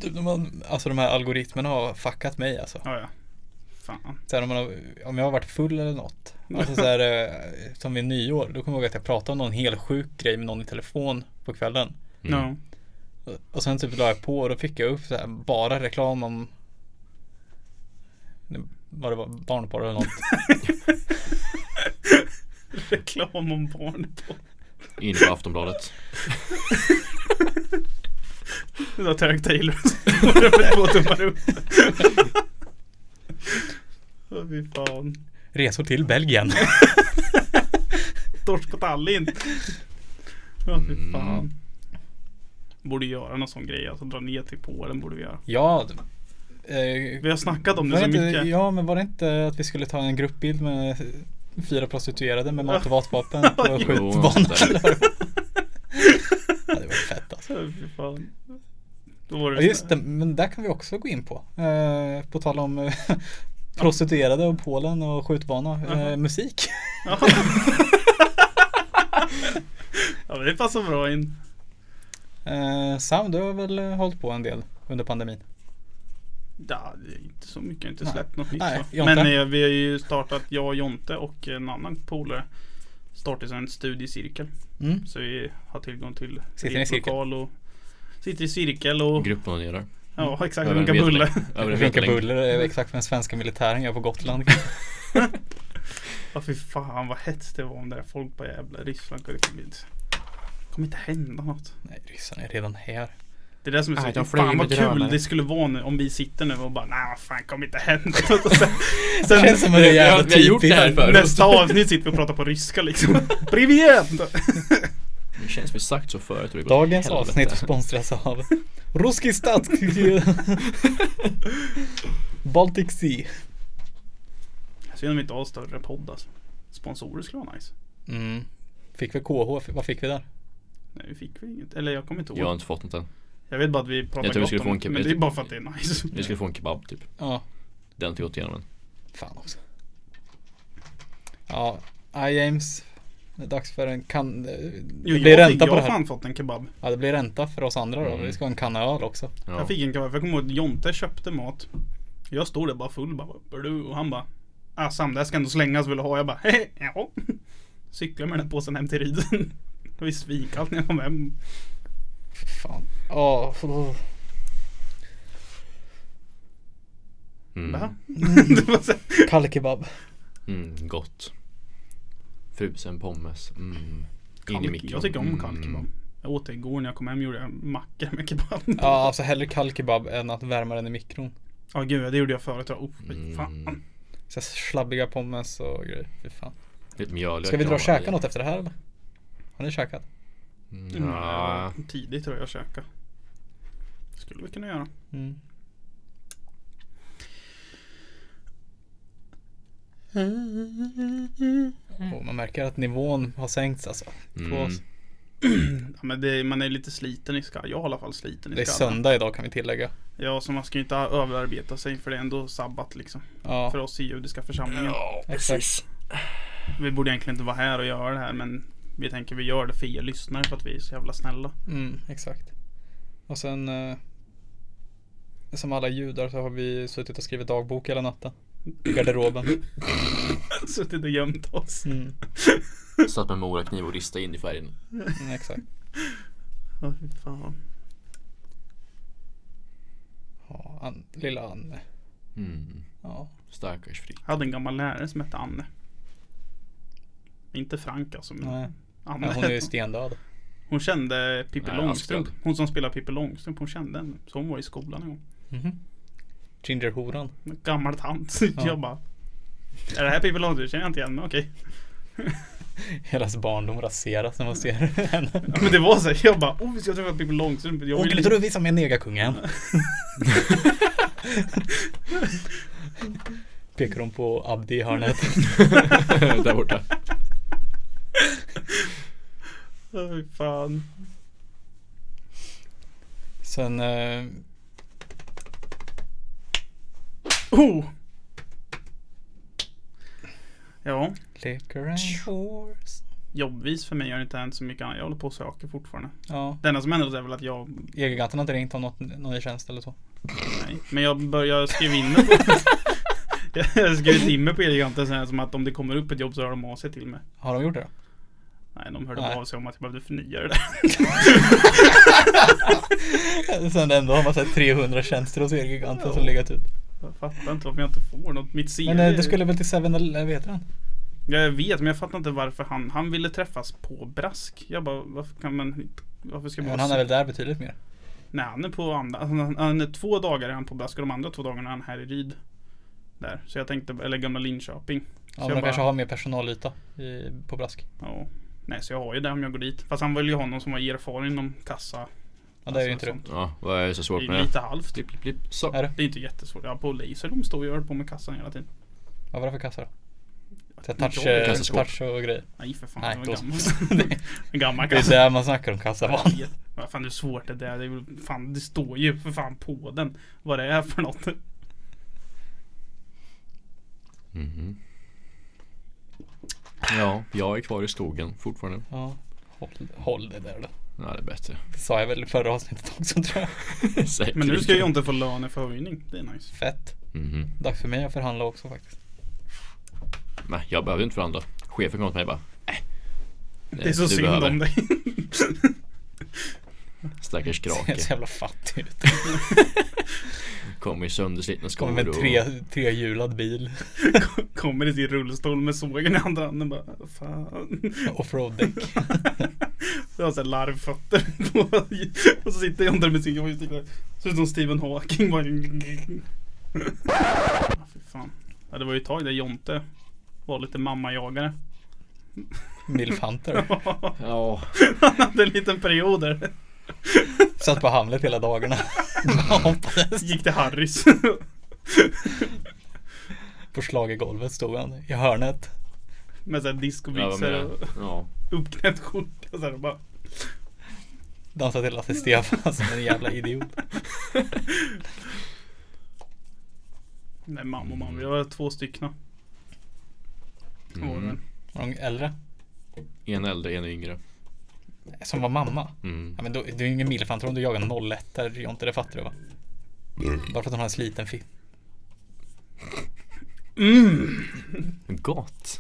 Speaker 2: Typ när man, alltså de här algoritmerna har fuckat mig alltså.
Speaker 1: Ja ja. Fan.
Speaker 2: Sen om, man har, om jag har varit full eller något. Alltså så här, eh, som vid nyår, då kommer jag ihåg att jag pratade om någon helt sjuk grej med någon i telefon på kvällen.
Speaker 3: Mm.
Speaker 1: Ja.
Speaker 2: Och sen typ la jag på och då fick jag upp så här, bara reklam om vad det var, barnporr eller något.
Speaker 1: Reklam om barn på.
Speaker 3: In på Aftonbladet.
Speaker 1: Det var Tarek Taylor som gjorde det med två tummar upp. Åh fy fan.
Speaker 2: Resor till Belgien.
Speaker 1: Torsk på Tallinn. Åh fy fan.
Speaker 3: Mm.
Speaker 1: Borde göra någon sån grej, alltså dra ner till Polen borde vi göra.
Speaker 2: ja. Eh,
Speaker 1: Vi har snackat om det
Speaker 2: var
Speaker 1: så
Speaker 2: det inte,
Speaker 1: mycket.
Speaker 2: ja men var det inte att vi skulle ta en gruppbild med fyra prostituerade med mat och vatvapen på
Speaker 1: [laughs] Jo,
Speaker 2: skjutbanan?
Speaker 3: något sånt där.
Speaker 2: eller? [laughs] ja, det var fett alltså.
Speaker 1: Åh, fy fan. Då var
Speaker 2: Ja,
Speaker 1: det
Speaker 2: just det, men där kan vi också gå in på. Eh, på tal om eh, [laughs] prostituerade och Polen och skjutbana. Eh,
Speaker 1: Jaha.
Speaker 2: musik.
Speaker 1: Ja. [laughs] ja men det passar bra in.
Speaker 2: Eh, Sam, du har väl eh, hållit på en del under pandemin?
Speaker 1: Ja, det är inte så mycket. Jag har inte
Speaker 2: Nej.
Speaker 1: släppt något nytt.
Speaker 2: Nej,
Speaker 1: så.
Speaker 2: Jonte.
Speaker 1: Men eh, vi har ju startat, jag och Jonte och en annan polare. startades en studiecirkel.
Speaker 2: Mm.
Speaker 1: Så vi har tillgång till
Speaker 2: Sitter ni i
Speaker 1: egen
Speaker 2: cirkel?
Speaker 1: lokal och sitter i cirkel och
Speaker 3: Gruppmanerar.
Speaker 1: ja exakt,
Speaker 3: Över en
Speaker 1: runkar bulle.
Speaker 3: vetelängd. Över en
Speaker 2: Runka
Speaker 3: vetelängd.
Speaker 2: buller är exakt vad den svenska militären gör på
Speaker 3: [laughs]
Speaker 2: Gotland.
Speaker 1: [laughs] Ja fy fan vad hett det var om det där. Folk bara jävla Ryssland kommer inte, kommer inte hända något.
Speaker 2: Nej, ryssarna är redan här.
Speaker 1: Det är det som är
Speaker 3: Nej,
Speaker 1: så
Speaker 3: de flyger
Speaker 1: fan
Speaker 3: med
Speaker 1: vad kul
Speaker 3: drönare.
Speaker 1: det skulle vara nu om vi sitter nu och bara nej vad fan kommer inte
Speaker 2: [laughs]
Speaker 1: hända [laughs] något. Och sen, sen
Speaker 2: Känns som att det är
Speaker 3: Vi har-
Speaker 2: jävla
Speaker 3: vi har gjort det här
Speaker 2: typiskt.
Speaker 3: förut.
Speaker 1: nästa avsnitt sitter vi och pratar på ryska liksom.
Speaker 2: [laughs]
Speaker 1: Privet!
Speaker 3: Det känns vi sagt så förut. och det går åt
Speaker 2: Dagens
Speaker 3: helvete.
Speaker 2: avsnitt sponsras av Ruski stat Baltic Sea.
Speaker 1: Synd om vi inte har större podd alltså. Sponsorer skulle vara nice.
Speaker 2: Mm. Fick vi KH? Vad fick vi där?
Speaker 1: Nej, vi fick vi inget. Eller jag kommer inte ihåg.
Speaker 3: Jag har inte fått något än.
Speaker 1: Jag vet bara att vi pratar
Speaker 3: Jag tror vi
Speaker 1: gott
Speaker 3: skulle få
Speaker 1: om
Speaker 3: en
Speaker 1: det,
Speaker 3: keb-
Speaker 1: men det är bara för att det är nice.
Speaker 3: Vi skulle få en kebab typ.
Speaker 2: Ja,
Speaker 3: Den har inte gått igenom än.
Speaker 2: fan också. Ja, ah, James. Det är dags för en kan...
Speaker 1: [laughs] Jo,
Speaker 2: det blir
Speaker 1: jag, fick,
Speaker 2: ränta
Speaker 1: jag
Speaker 2: på
Speaker 1: har
Speaker 2: det här.
Speaker 1: fan fått en kebab.
Speaker 2: Ja, det blir ränta för oss andra då.
Speaker 3: Mm.
Speaker 2: Vi ska ha en kanna öl också.
Speaker 3: Ja.
Speaker 1: Jag fick en kebab. För jag kommer ihåg att Jonte köpte mat. Jag stod där bara full bara. "Vad är du?" Och han bara. Ah Sam, det här ska ändå slängas. Vill du ha? Jag bara. Hehe, ja. [laughs] Cyklade med den här påsen hem till Riden. [laughs] Det var ju svinkallt när jag kom hem.
Speaker 3: Mm.
Speaker 2: Fan. Ja, oh.
Speaker 1: Va?
Speaker 3: Mm.
Speaker 1: "Ah." [laughs] Det var så här,
Speaker 2: kall kebab.
Speaker 3: Mm, gott. Frusen pommes. Mm. In i mikron.
Speaker 1: Jag tycker om
Speaker 3: Mm.
Speaker 1: kall kebab. Jag åt det igår när jag kom hem gjorde jag mackor med kebab.
Speaker 2: Ja, alltså hellre kall kebab än att värma den i mikron.
Speaker 1: Ja gud, det gjorde jag förut. Oh, fy
Speaker 3: Mm.
Speaker 1: fan.
Speaker 2: Så här slabbiga pommes och grejer. Fy fan.
Speaker 3: Lite mjöl.
Speaker 2: Ska vi dra och käka något efter det här eller? Har ni käkat?
Speaker 3: Ja.
Speaker 1: Mm, Tidigt tror jag jag käka. Skulle vi kunna
Speaker 2: [clears throat]
Speaker 1: göra.
Speaker 2: Mm. Och man märker att nivån har sänkts alltså. På
Speaker 3: Mm.
Speaker 2: oss.
Speaker 1: Ja, men det, man är lite sliten i skallen. Jag är i alla fall sliten i
Speaker 2: Det är
Speaker 1: skallen.
Speaker 2: söndag idag kan vi tillägga.
Speaker 1: Ja, så man ska ju inte överarbeta sig för det är ändå sabbat liksom. För
Speaker 2: Ja,
Speaker 1: oss i judiska församlingen.
Speaker 2: exakt.
Speaker 1: Vi borde egentligen inte vara här och göra det här men vi tänker vi gör det för er lyssnare för att vi är så jävla snälla. [laughs]
Speaker 2: Mm, exakt. Och sen eh, som alla judar så har vi suttit och skrivit dagbok hela natten. I garderoben.
Speaker 1: Suttit och gömt oss.
Speaker 2: Mm,
Speaker 3: Satt med morakniv och ristade in i färgen.
Speaker 2: mm, exakt.
Speaker 1: Ja, fy fan.
Speaker 2: Ja, an, lilla Anne.
Speaker 3: Mm.
Speaker 2: Ja.
Speaker 3: Stackars Frick.
Speaker 1: Jag hade en gammal lärare som hette Anne. Inte Frank alltså men
Speaker 2: Nej.
Speaker 1: Anne.
Speaker 2: Ja, hon är ju stendöd.
Speaker 1: Hon kände Pippi
Speaker 3: Nej,
Speaker 1: Långstrump.
Speaker 3: Alfred.
Speaker 1: Hon som spelar Pippi Långstrump, hon kände henne. Så hon var i skolan en gång.
Speaker 2: Mhm. Gingerhoran.
Speaker 1: En Gammal tant.
Speaker 2: Ja.
Speaker 1: [laughs] Jag bara. Är det här Pippi Långstrump? Känner jag inte igen men okej. [laughs]
Speaker 2: Hennes barndom raseras när
Speaker 1: [laughs]
Speaker 2: man ser henne.
Speaker 1: Ja, men det var så. här, Jag bara. Oh, vi ska träffa Pippi Långstrump. Jag
Speaker 2: Och
Speaker 1: vill
Speaker 2: kan inte du visa mig negakungen?
Speaker 1: [laughs]
Speaker 2: Pekar hon på Abdi
Speaker 1: [laughs]
Speaker 2: i hörnet.
Speaker 3: Där borta.
Speaker 1: Oj, fan.
Speaker 2: Sen, eh,
Speaker 1: Oh! Ja,
Speaker 2: Liquor and horse.
Speaker 1: jobbvis för mig har det inte hänt så mycket annat. Jag håller på och söker fortfarande.
Speaker 2: Ja,
Speaker 1: Det enda som händer är väl att jag...
Speaker 2: Egerganten har inte ringt om något, någon ny tjänst eller så.
Speaker 1: Nej. Men jag börjar skriva in mig på... [laughs] jag har skrivit in mig på Eleganten sen som att om det kommer upp ett jobb så hör de av sig till mig.
Speaker 2: Har de gjort det då?
Speaker 1: Nej, de hörde
Speaker 2: Nej.
Speaker 1: av sig om att jag behövde förnya det där.
Speaker 2: Sen ändå har man sett 300 tjänster hos Egerganten som legat ut.
Speaker 1: Jag fattar inte varför jag inte får något. Mitt CV...
Speaker 2: Men eh, du skulle väl till 7 eller vad heter den?
Speaker 1: Ja, jag vet, men jag fattar inte varför han... Han ville träffas på Brask. Jag bara, varför kan man... inte- Varför ska man...
Speaker 2: Men han är väl där betydligt mer?
Speaker 1: Nej, han är på andra, han, han, han är två dagar är han på Brask och de andra två dagarna är han här i Ryd. Där. Så jag tänkte, eller gamla Linköping. Så
Speaker 2: Ja,
Speaker 1: jag
Speaker 2: men de
Speaker 1: bara-
Speaker 2: kanske har mer personalyta i, på Brask.
Speaker 1: Ja. Nej, så jag har ju det om jag går dit. Fast han vill ju ha någon som var erfaren inom kassa.
Speaker 2: Ja, det är ju inte
Speaker 1: Alltså, sånt.
Speaker 2: du.
Speaker 3: Ja, vad är det så
Speaker 1: Det
Speaker 3: svårt
Speaker 1: är
Speaker 3: med det?
Speaker 1: lite halvt. typ.
Speaker 3: Blipp, blipp, blipp. Så.
Speaker 2: Är det?
Speaker 1: Det är inte jättesvårt. Ja, på Laser de står ju och håller på med kassan hela tiden.
Speaker 2: Vad var det för kassa då? Så här
Speaker 1: Jag
Speaker 2: Touch,
Speaker 1: vet
Speaker 2: eh,
Speaker 1: inte.
Speaker 3: kassaskåp.
Speaker 2: touch och grejer.
Speaker 1: Nej, för fan.
Speaker 2: [laughs] Nej,
Speaker 1: det var
Speaker 2: då
Speaker 1: en
Speaker 2: så.
Speaker 1: gammal, [laughs] en gammal
Speaker 2: Det är
Speaker 1: kassa.
Speaker 2: där man snackar om kassavan.
Speaker 1: Jag vet. [laughs] Vad fan hur svårt det där är. Det, är väl- fan, det står ju för fan på den. Vad det är för något.
Speaker 3: Mhm. Ja, jag är kvar i skogen fortfarande.
Speaker 2: Ja. Håll, håll det där då.
Speaker 3: Ja, det
Speaker 1: [laughs]
Speaker 3: är bättre.
Speaker 2: Det sa jag väl i förra avsnittet också tror jag.
Speaker 3: Säkert.
Speaker 1: Men nu ska jag inte få löneförhöjning. Det är nice.
Speaker 2: Fett.
Speaker 3: Mhm.
Speaker 2: Dags för mig att förhandla också faktiskt.
Speaker 3: Nej, jag behövde inte förhandla. Chefen kom till mig och bara, äh,
Speaker 1: Det är så synd om dig. [laughs]
Speaker 3: Stackars
Speaker 2: Ser så
Speaker 3: krake.
Speaker 2: jävla fattig ut.
Speaker 3: Kommer i sönderslitna skor
Speaker 2: Kommer med en
Speaker 3: och-
Speaker 2: tre, trehjulad bil. [laughs]
Speaker 1: Kommer i sin rullstol med sågen i andra handen bara Fan. [laughs]
Speaker 2: Offroad-däck.
Speaker 1: Jag har såhär larvfötter [laughs] på. Och så sitter John där med sin joystick där. Ser ut som Stephen Hawking bara. [laughs] Ah, fy fan. Ja, det var ju ett tag där Jonte var lite mammajagare. [laughs]
Speaker 2: Milf Hunter.
Speaker 3: Ja,
Speaker 1: Han hade en liten period där.
Speaker 2: Satt på Hamlet hela dagarna. [laughs] Bara
Speaker 1: [laughs]
Speaker 2: hoppades.
Speaker 1: Gick till Harrys.
Speaker 2: På schlagergolvet stod han i hörnet.
Speaker 1: Med såhär
Speaker 3: jag var
Speaker 1: discobyxor
Speaker 3: med.
Speaker 1: och
Speaker 3: Ja.
Speaker 1: uppknäppt skjorta. Så här, och bara.
Speaker 2: Dansade till Lasse Stefan som en jävla idiot.
Speaker 1: Nej mamma och mamma. Jag var två stycken.
Speaker 3: Mm.
Speaker 2: Var de äldre?
Speaker 3: En äldre, en yngre.
Speaker 2: Som var mamma?
Speaker 3: Mm.
Speaker 2: Ja, men då, du är ju ingen milf Hunter om du jagar 01 där Jonte, det fattar du va?
Speaker 3: Mm.
Speaker 2: Bara för att hon har en sliten fitt.
Speaker 1: Mm.
Speaker 3: Gott.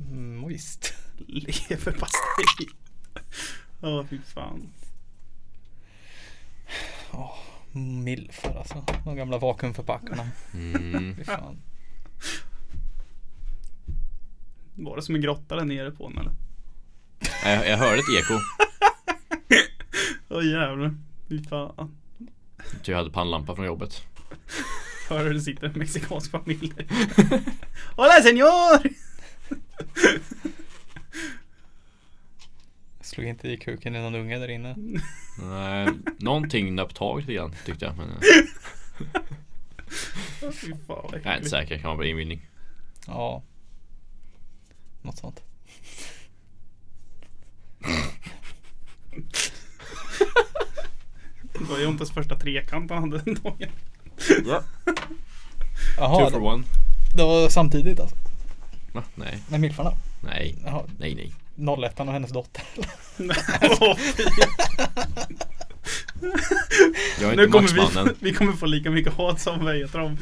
Speaker 2: Mm, moist.
Speaker 1: Leverpastej. Ja fy fan.
Speaker 2: Milfar alltså. De gamla vakuumförpackarna.
Speaker 3: Mm.
Speaker 2: Fy fan.
Speaker 1: Var det som en grotta där nere på den eller?
Speaker 3: Nej, Jag, jag hörde ett eko.
Speaker 1: Åh jävlar. Fy fan.
Speaker 3: Ty Typ jag hade pannlampa från jobbet.
Speaker 1: Hör hur det sitter en mexikansk
Speaker 3: [laughs]
Speaker 1: familj där. Hola señor!
Speaker 2: Slog inte i kuken i någon unge där inne.
Speaker 3: Nej, någonting nöp tag lite grann tyckte jag. Men eh,
Speaker 1: Åh, Fy fan vad
Speaker 3: jag är inte
Speaker 1: äckligt.
Speaker 3: säker, kan vara bara inbillning.
Speaker 2: Ja. Något sånt.
Speaker 1: Det var Jontes första trekant han hade den
Speaker 3: [laughs]
Speaker 1: dagen.
Speaker 3: Ja.
Speaker 2: Jaha,
Speaker 3: Two
Speaker 2: det,
Speaker 3: for one.
Speaker 2: det var samtidigt alltså.
Speaker 3: Va? Nej,
Speaker 2: Med milfarna?
Speaker 3: nej,
Speaker 2: Jaha,
Speaker 3: nej, nej.
Speaker 2: 01 och hennes dotter. [laughs]
Speaker 1: Åh, fy.
Speaker 3: Jag är
Speaker 1: nu
Speaker 3: inte
Speaker 1: kommer
Speaker 3: matchmannen.
Speaker 1: [laughs] vi, vi kommer få lika mycket hat som vad heter de?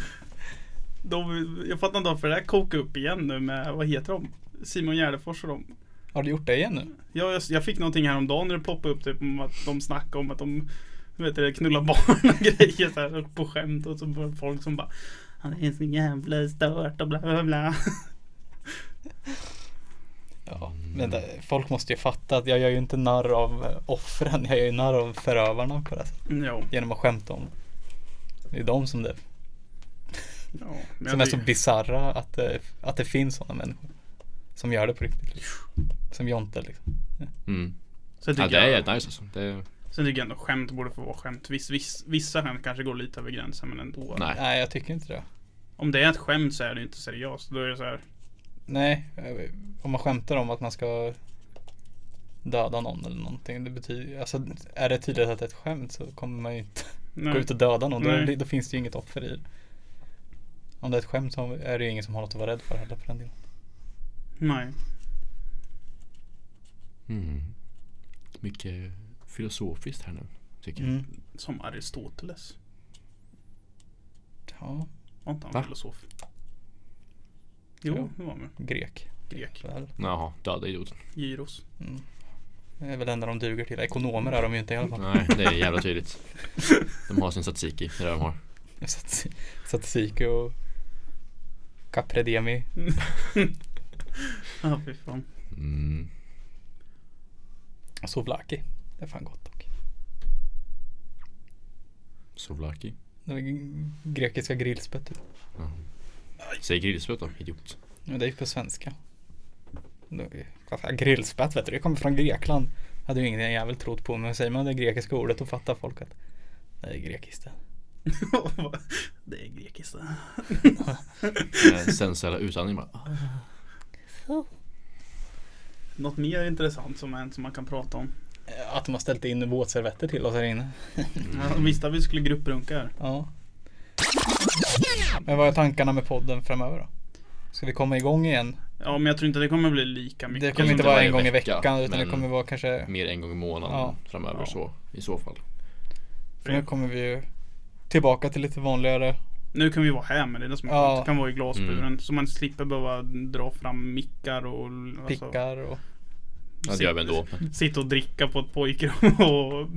Speaker 1: de jag fattar inte varför det här kokar upp igen nu med, vad heter de? Simon Gärdefors och de.
Speaker 2: Har du gjort det igen nu?
Speaker 1: Ja, jag, jag fick någonting häromdagen när det poppade upp typ om att de snackade om att de vet du, knullar barn och [laughs] grejer så här, och på skämt och så var det folk som bara Han är så jävla stört och bla bla bla.
Speaker 2: Ja,
Speaker 1: Mm.
Speaker 2: men det, folk måste ju fatta att jag gör ju inte narr av eh, offren, jag gör ju narr av förövarna på det här sättet.
Speaker 1: Mm, Ja,
Speaker 2: Genom att skämta om. Det är de som det,
Speaker 1: ja. Men
Speaker 2: som är
Speaker 1: jag
Speaker 2: så
Speaker 1: tycker-
Speaker 2: bisarra att, det- att det finns sådana människor. Som gör det på riktigt. Liksom. Som Jonte liksom.
Speaker 3: Mm.
Speaker 1: sen,
Speaker 3: Ja,
Speaker 1: tycker
Speaker 3: det är
Speaker 1: jag,
Speaker 3: jävligt nice alltså. Det,
Speaker 1: sen tycker jag ändå skämt borde få vara skämt. Viss, viss, vissa skämt kanske går lite över gränsen men ändå.
Speaker 3: nej.
Speaker 2: Nej, jag tycker inte det.
Speaker 1: Om det är ett skämt så är det inte seriöst. Då är det så här.
Speaker 2: Nej, eh, om man skämtar om att man ska döda någon eller någonting. Det betyder, alltså, är det tydligt att det är ett skämt så kommer man ju inte
Speaker 1: Nej.
Speaker 2: gå ut och döda någon. Då,
Speaker 1: Nej.
Speaker 2: då finns det ju inget offer i det. Om det är ett skämt så är det ju ingen som har något att vara rädd för heller för den delen.
Speaker 1: Nej.
Speaker 3: Mm. Mycket filosofiskt här nu, tycker jag.
Speaker 2: Mm.
Speaker 1: Som Aristoteles.
Speaker 2: Ja,
Speaker 1: Var inte han
Speaker 3: Va?
Speaker 1: filosof? Jo,
Speaker 2: Jo.
Speaker 1: det var han väl.
Speaker 2: grek.
Speaker 1: Grek.
Speaker 2: Väl.
Speaker 3: Jaha, döda idioten.
Speaker 1: Gyros.
Speaker 2: Mm. Det är väl det enda de duger till. Ekonomer är de ju inte i alla fall.
Speaker 3: Nej, det är jävla [laughs] tydligt. De har sin statistik i det där de har.
Speaker 2: Stats- Statistik och Capredemi.
Speaker 1: Ja, ah, fy fan. [laughs]
Speaker 3: Mm.
Speaker 2: och Souvlaki. Det är fan gott dock.
Speaker 3: Souvlaki.
Speaker 2: Det är g- grekiska grillspett. typ.
Speaker 3: Säg grillspett då, [laughs] idiot.
Speaker 2: Men det är ju på svenska. Det- vad fan, Grillspett vet du, det kommer från Grekland. Hade ju ingen jävel trott på men säger man det grekiska ordet då fattar folk att det är grekiskt. det.
Speaker 1: det är grekiskt.
Speaker 3: Eh, Sensuella utandning bara. ah,
Speaker 1: Något mer intressant som hänt som man kan prata om.
Speaker 2: Att de har ställt in våtservetter till oss här inne. Mm.
Speaker 1: Ja, de visste att vi skulle grupprunka här.
Speaker 2: Ja. Men vad är tankarna med podden framöver då? Ska vi komma igång igen?
Speaker 1: Ja, men jag tror inte det kommer bli lika mycket.
Speaker 2: Det kommer inte
Speaker 3: inte
Speaker 2: vara
Speaker 3: varje
Speaker 2: en gång i
Speaker 3: vecka,
Speaker 2: veckan utan det
Speaker 3: men-
Speaker 2: kommer vara kanske
Speaker 3: Mer en gång i månaden
Speaker 2: Ja.
Speaker 3: framöver
Speaker 1: Ja.
Speaker 3: så, i så fall.
Speaker 2: För nu kommer vi ju tillbaka till lite vanligare.
Speaker 1: Nu kan vi vara här med det, är det som är
Speaker 2: Ja.
Speaker 1: skönt. Det kan vara i glasburen.
Speaker 3: Mm.
Speaker 1: Så man slipper behöva dra fram mickar och alltså,
Speaker 2: Pickar och
Speaker 3: Ja, det gör vi ändå. Men,
Speaker 1: Sitta och dricka på ett pojkrum [laughs] och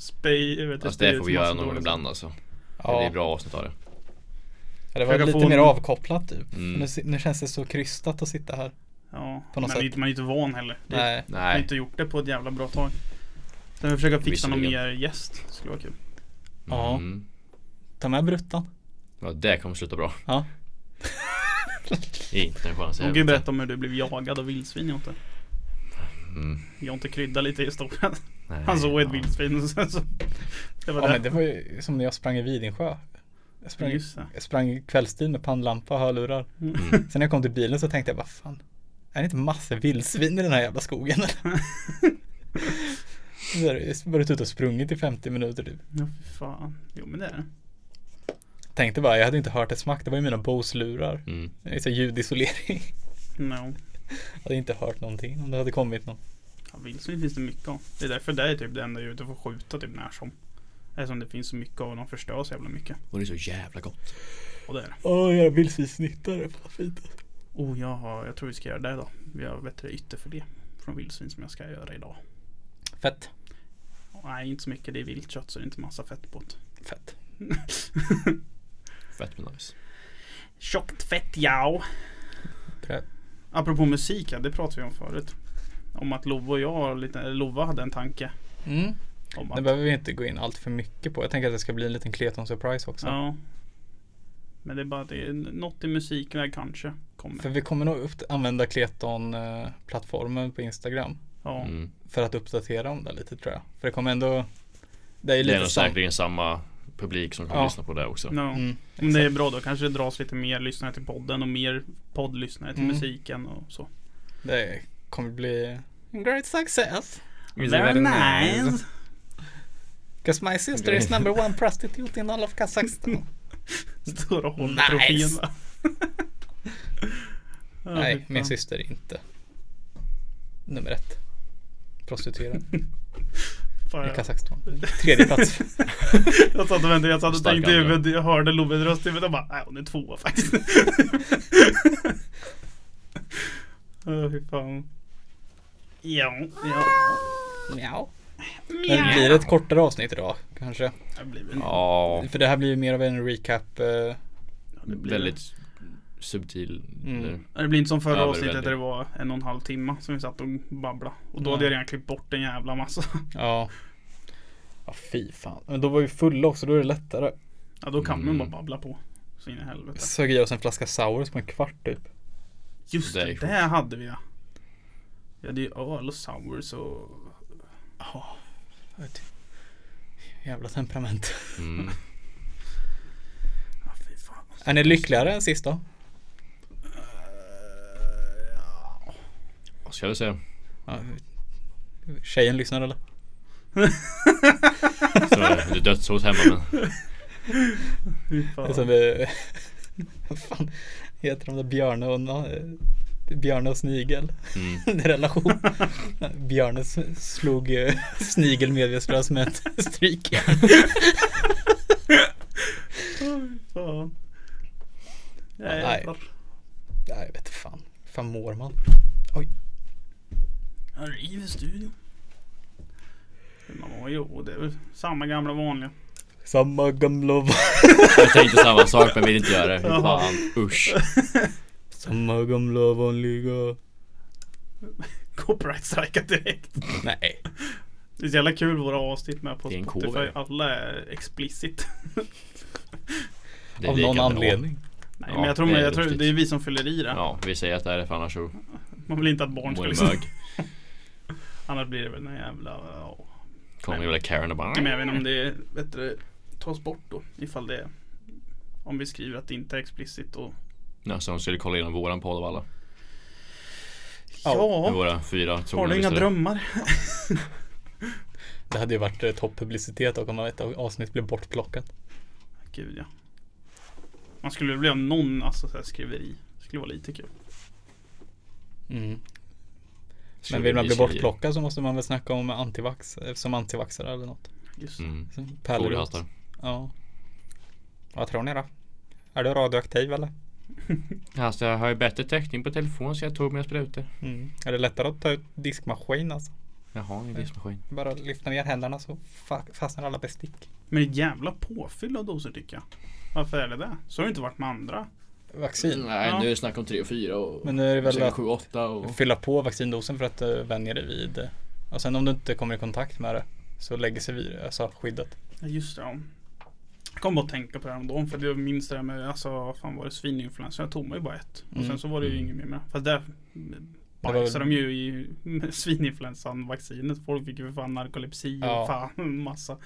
Speaker 1: spej. vet du,
Speaker 3: alltså, det får vi
Speaker 1: spy ut
Speaker 3: göra
Speaker 1: massa
Speaker 3: någon gång
Speaker 1: dåligt.
Speaker 3: ibland alltså. Det
Speaker 2: Ja,
Speaker 3: blir bra avsnitt av det.
Speaker 2: Ja, det var
Speaker 1: Försöka
Speaker 2: lite
Speaker 1: få
Speaker 2: mer
Speaker 1: en-
Speaker 2: avkopplat typ.
Speaker 3: Mm.
Speaker 2: Nu, si- nu känns det så krystat att sitta här.
Speaker 1: Ja,
Speaker 2: På
Speaker 1: men
Speaker 2: något
Speaker 1: det är
Speaker 2: sätt.
Speaker 1: inte- man är ju inte van heller. Det-
Speaker 2: Nej.
Speaker 1: Jag har
Speaker 3: Nej.
Speaker 1: inte gjort det på ett jävla bra tag. Så vi försöker fixa någon
Speaker 3: Visserligen.
Speaker 1: mer gäst. Det skulle vara kul.
Speaker 2: Ja.
Speaker 3: Mm.
Speaker 2: Ta med bruttan.
Speaker 3: Ja, det kommer sluta bra.
Speaker 2: Ja.
Speaker 3: [laughs] Inte en chans. i
Speaker 1: Du kan ju
Speaker 3: helvete.
Speaker 1: berätta om hur du blev jagad av vildsvin Jonte.
Speaker 3: Mm.
Speaker 1: Jonte krydda lite i historien.
Speaker 3: Nej,
Speaker 1: Han såg ett
Speaker 3: ja.
Speaker 1: vildsvin och sen så. Det var
Speaker 2: Ja,
Speaker 1: det.
Speaker 2: men det var ju som när jag sprang i Vidensjö. Jag sprang,
Speaker 1: Just det.
Speaker 2: jag sprang i kvällstid med pannlampa och hörlurar.
Speaker 3: Mm.
Speaker 2: Sen när jag kom till bilen så tänkte jag, vad fan. Är det inte massor vildsvin i den här jävla skogen eller? [laughs] Så har jag varit ute och sprungit i 50 minuter typ.
Speaker 1: [laughs] Ja, fy fan. Jo, men det är det.
Speaker 2: Tänkte bara, jag hade inte hört ett smack. Det var ju mina Bose-lurar.
Speaker 3: Mm.
Speaker 2: Det är så ljudisolering.
Speaker 1: No.
Speaker 2: Jag hade inte hört någonting om det hade kommit någon.
Speaker 1: Ja, vildsvin finns det mycket av. Det är därför det är typ det enda djuret du får skjuta typ när som. Eftersom det finns så mycket av och de förstör så jävla mycket.
Speaker 3: [laughs] Och det är så jävla gott.
Speaker 1: Och det är det.
Speaker 2: Åh, oh, jag vildsvinssnittare. Vad fint.
Speaker 1: Oh, jag, har, jag tror vi ska göra det idag. Vi har bättre ytter för det. Från vildsvin som jag ska göra idag.
Speaker 2: Fett.
Speaker 1: Nej, inte så mycket. Det är viltkött så det är inte massa fett på det.
Speaker 2: Fett.
Speaker 3: Fett men nice.
Speaker 1: [laughs] Tjockt fett ja.
Speaker 2: Prä-
Speaker 1: Apropå musik, ja, det pratade vi om förut. Om att Lova och jag, har lite, eller Lova hade en tanke.
Speaker 2: Mm.
Speaker 1: Om
Speaker 2: Det
Speaker 1: att,
Speaker 2: behöver vi inte gå in allt för mycket på. Jag tänker att det ska bli en liten Kleton surprise också.
Speaker 1: ja. Men det är bara att det är något i musiken där kanske kommer.
Speaker 2: För vi kommer nog upp- använda Kleton-plattformen på Instagram.
Speaker 1: Ja,
Speaker 3: Mm.
Speaker 2: För att uppdatera om det lite tror jag. För det kommer ändå... Det är ju
Speaker 3: Det är
Speaker 2: lite
Speaker 3: nog
Speaker 2: sant.
Speaker 3: säkerligen samma publik som kommer
Speaker 2: Ja.
Speaker 3: lyssna på det också.
Speaker 1: no.
Speaker 2: Mm.
Speaker 1: Om det är bra då kanske det dras lite mer lyssnare till podden och mer poddlyssnare till
Speaker 2: Mm.
Speaker 1: musiken och så.
Speaker 2: Det kommer bli... en Great success.
Speaker 3: Is it very nice?
Speaker 2: Cause my sister is number one prostitute in all of Kazakstan.
Speaker 1: Står och håller
Speaker 2: Nice.
Speaker 1: trofén
Speaker 2: [laughs]
Speaker 1: va? Ja,
Speaker 2: Nej,
Speaker 1: fy
Speaker 2: min
Speaker 1: fan.
Speaker 2: syster är inte nummer ett. Prostituerad
Speaker 1: Fan,
Speaker 2: i
Speaker 1: jag-
Speaker 2: Kazakstan. Tredje plats.
Speaker 1: Jag satt och väntade, jag satt och
Speaker 3: Starka
Speaker 1: tänkte i
Speaker 3: andra.
Speaker 1: huvudet, jag hörde Loves röst i huvudet och bara nej hon är tvåa faktiskt. [laughs] Åh fy fan. Ja, ja.
Speaker 2: Mjau. Men det blir ett kortare avsnitt idag kanske.
Speaker 1: Det blir väl-
Speaker 3: Ja.
Speaker 2: För det här blir ju mer av en recap. eh,
Speaker 1: ja, det blir-
Speaker 3: Väldigt subtil.
Speaker 2: Mm.
Speaker 3: eller-
Speaker 1: Det blir inte som förra
Speaker 3: Ja, det blir
Speaker 1: avsnittet
Speaker 3: väldigt.
Speaker 1: där det var en och en halv timme som vi satt och babblade. Och då
Speaker 2: Ja.
Speaker 1: hade jag redan klippt bort en jävla massa.
Speaker 2: Ja. Ja fy fan. Men då var vi fulla också, då är det lättare.
Speaker 1: Ja då kan man
Speaker 3: Mm.
Speaker 1: bara babbla på. Så in i helvete.
Speaker 2: Sög i oss en flaska sours på en kvart typ.
Speaker 1: Just
Speaker 3: Det är
Speaker 1: det,
Speaker 3: sjukt.
Speaker 1: det här hade vi ja. Vi hade ju öl och sours och
Speaker 2: Jävla temperament.
Speaker 3: Mm.
Speaker 1: ja, fy fan.
Speaker 2: Är ni lyckligare än sist då?
Speaker 3: Vad ska jag säga?
Speaker 2: Ja. Tjejen lyssnar eller?
Speaker 3: Så det är dödshot hemma men
Speaker 1: Fy
Speaker 2: Det är som
Speaker 1: fan.
Speaker 2: vi... [laughs] Vad fan heter de där björne och... na- Björne och snigel. [laughs]
Speaker 3: mm.
Speaker 2: En relation. Björne s- slog eh, [laughs] snigel medvetslös med ett [laughs] strykjärn.
Speaker 1: Fy fan. Jävlar.
Speaker 2: Nej, jag vet inte fan. fan mår man?
Speaker 1: Här är Yves studion. Man var jo, det är väl samma gamla vanliga.
Speaker 2: Samma gamla va-
Speaker 3: Jag tänkte samma sak men vill inte göra det. Fy Fan usch.
Speaker 2: Samma gamla vanliga.
Speaker 1: Copyright strikeat direkt.
Speaker 2: Nej.
Speaker 1: Det är så jävla kul våra avsnitt med på
Speaker 3: Det är en
Speaker 1: Spotify.
Speaker 3: cover.
Speaker 1: Alla är
Speaker 3: [laughs]
Speaker 1: explicit.
Speaker 3: Det är
Speaker 2: Av
Speaker 3: lika
Speaker 2: någon
Speaker 3: bra.
Speaker 2: anledning.
Speaker 1: Nej
Speaker 3: Ja,
Speaker 1: men jag tror,
Speaker 3: det är
Speaker 1: jag tror
Speaker 3: riktigt.
Speaker 1: det är vi som fyller i det.
Speaker 3: Ja vi säger att det är det för annars så
Speaker 1: Man vill inte att barn ska
Speaker 3: mår en
Speaker 1: lyssna.
Speaker 3: bög.
Speaker 1: [laughs] Annars blir det väl en jävla... ja.
Speaker 3: Kommer väl Karen och bara
Speaker 1: Men jag vet inte om det är bättre tas bort då. Ifall det är... Om vi skriver att det inte är explicit och...
Speaker 3: Ja, så de skulle kolla igenom våran podd av alla.
Speaker 2: Ja.
Speaker 3: Med våra fyra
Speaker 1: har
Speaker 3: trogna
Speaker 1: du inga
Speaker 3: lyssnare.
Speaker 1: drömmar?
Speaker 2: Det hade ju varit eh, toppublicitet och om ett avsnitt blev bortplockat.
Speaker 1: Gud ja. Man skulle vilja ha någon alltså, så här, skriveri. Det skulle vara lite kul.
Speaker 2: Mm.
Speaker 3: Skulle
Speaker 2: Men vill man
Speaker 3: vi
Speaker 2: bli
Speaker 3: säga.
Speaker 2: bortplockad så måste man väl snacka om antivax, eh, som antivaxare eller något.
Speaker 1: Just det.
Speaker 3: Mm.
Speaker 2: Som pärlrot.
Speaker 3: Foliehattar.
Speaker 2: Ja. Vad tror ni då? Är du radioaktiv eller?
Speaker 3: Alltså jag har ju bättre täckning på telefon så jag tog mina sprutor.
Speaker 2: Mm. Är det lättare att ta ut diskmaskin alltså?
Speaker 3: Jag har ingen diskmaskin.
Speaker 2: Bara lyfta ner händerna så fa- fastnar alla bestick.
Speaker 1: Men ett jävla påfyll av doser tycker jag. Varför är det det? Så har det inte varit med andra.
Speaker 2: Vaccin.
Speaker 3: Nej,
Speaker 1: Ja.
Speaker 3: nu är det snack om 3 och 4 och
Speaker 2: Men nu är det väl
Speaker 3: sen
Speaker 2: att
Speaker 3: 7 och 8 och...
Speaker 2: fylla på vaccindosen för att eh, vänja dig vid. eh, Och sen om du inte kommer i kontakt med det så lägger sig vid, alltså skyddet.
Speaker 1: Ja, just det. Ja. Jag kom bara att tänka på det här ändå. För jag minns det där med, alltså vad fan var det, svininfluensa. Jag tog mig ju bara ett. Och sen
Speaker 2: Mm.
Speaker 1: så var det ju
Speaker 3: Mm.
Speaker 1: inget mer med. Fast där
Speaker 2: var-
Speaker 1: bajsade de ju i [laughs] med svininfluensan-vaccinet. Folk fick ju för fan narkolepsi
Speaker 2: Ja.
Speaker 1: och fan massa.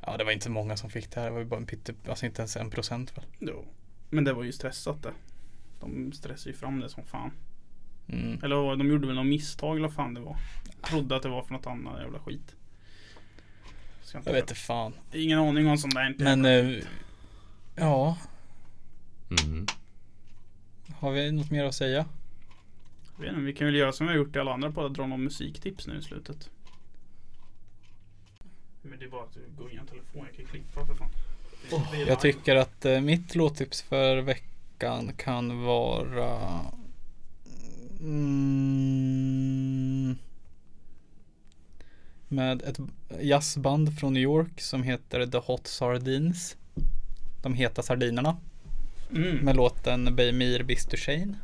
Speaker 2: Ja, det var inte så många som fick det här. Det var ju bara en pytte, alltså inte ens en procent väl.
Speaker 1: Jo. Men det var ju stressat det. De stressade ju fram det som fan.
Speaker 2: Mm.
Speaker 1: Eller vad- de gjorde väl något misstag eller vad fan det var. Trodde att det var för något annat jävla skit. Ska inte
Speaker 2: Jag vet inte fan.
Speaker 1: Ingen aning om sånt där inte.
Speaker 2: Men eh, ja,
Speaker 3: Mm.
Speaker 2: har vi något mer att säga?
Speaker 1: Jag vet inte, vi kan väl göra som vi har gjort i alla andra poddar, dra någon musiktips nu i slutet. Men det är bara att gå igenom telefonen, jag kan klippa för fan.
Speaker 2: Jag tycker att eh, mitt låttips för veckan kan vara mm, med ett jazzband från New York som heter The Hot Sardines. De heta sardinerna
Speaker 1: Mm.
Speaker 2: med låten Beimir Bistushane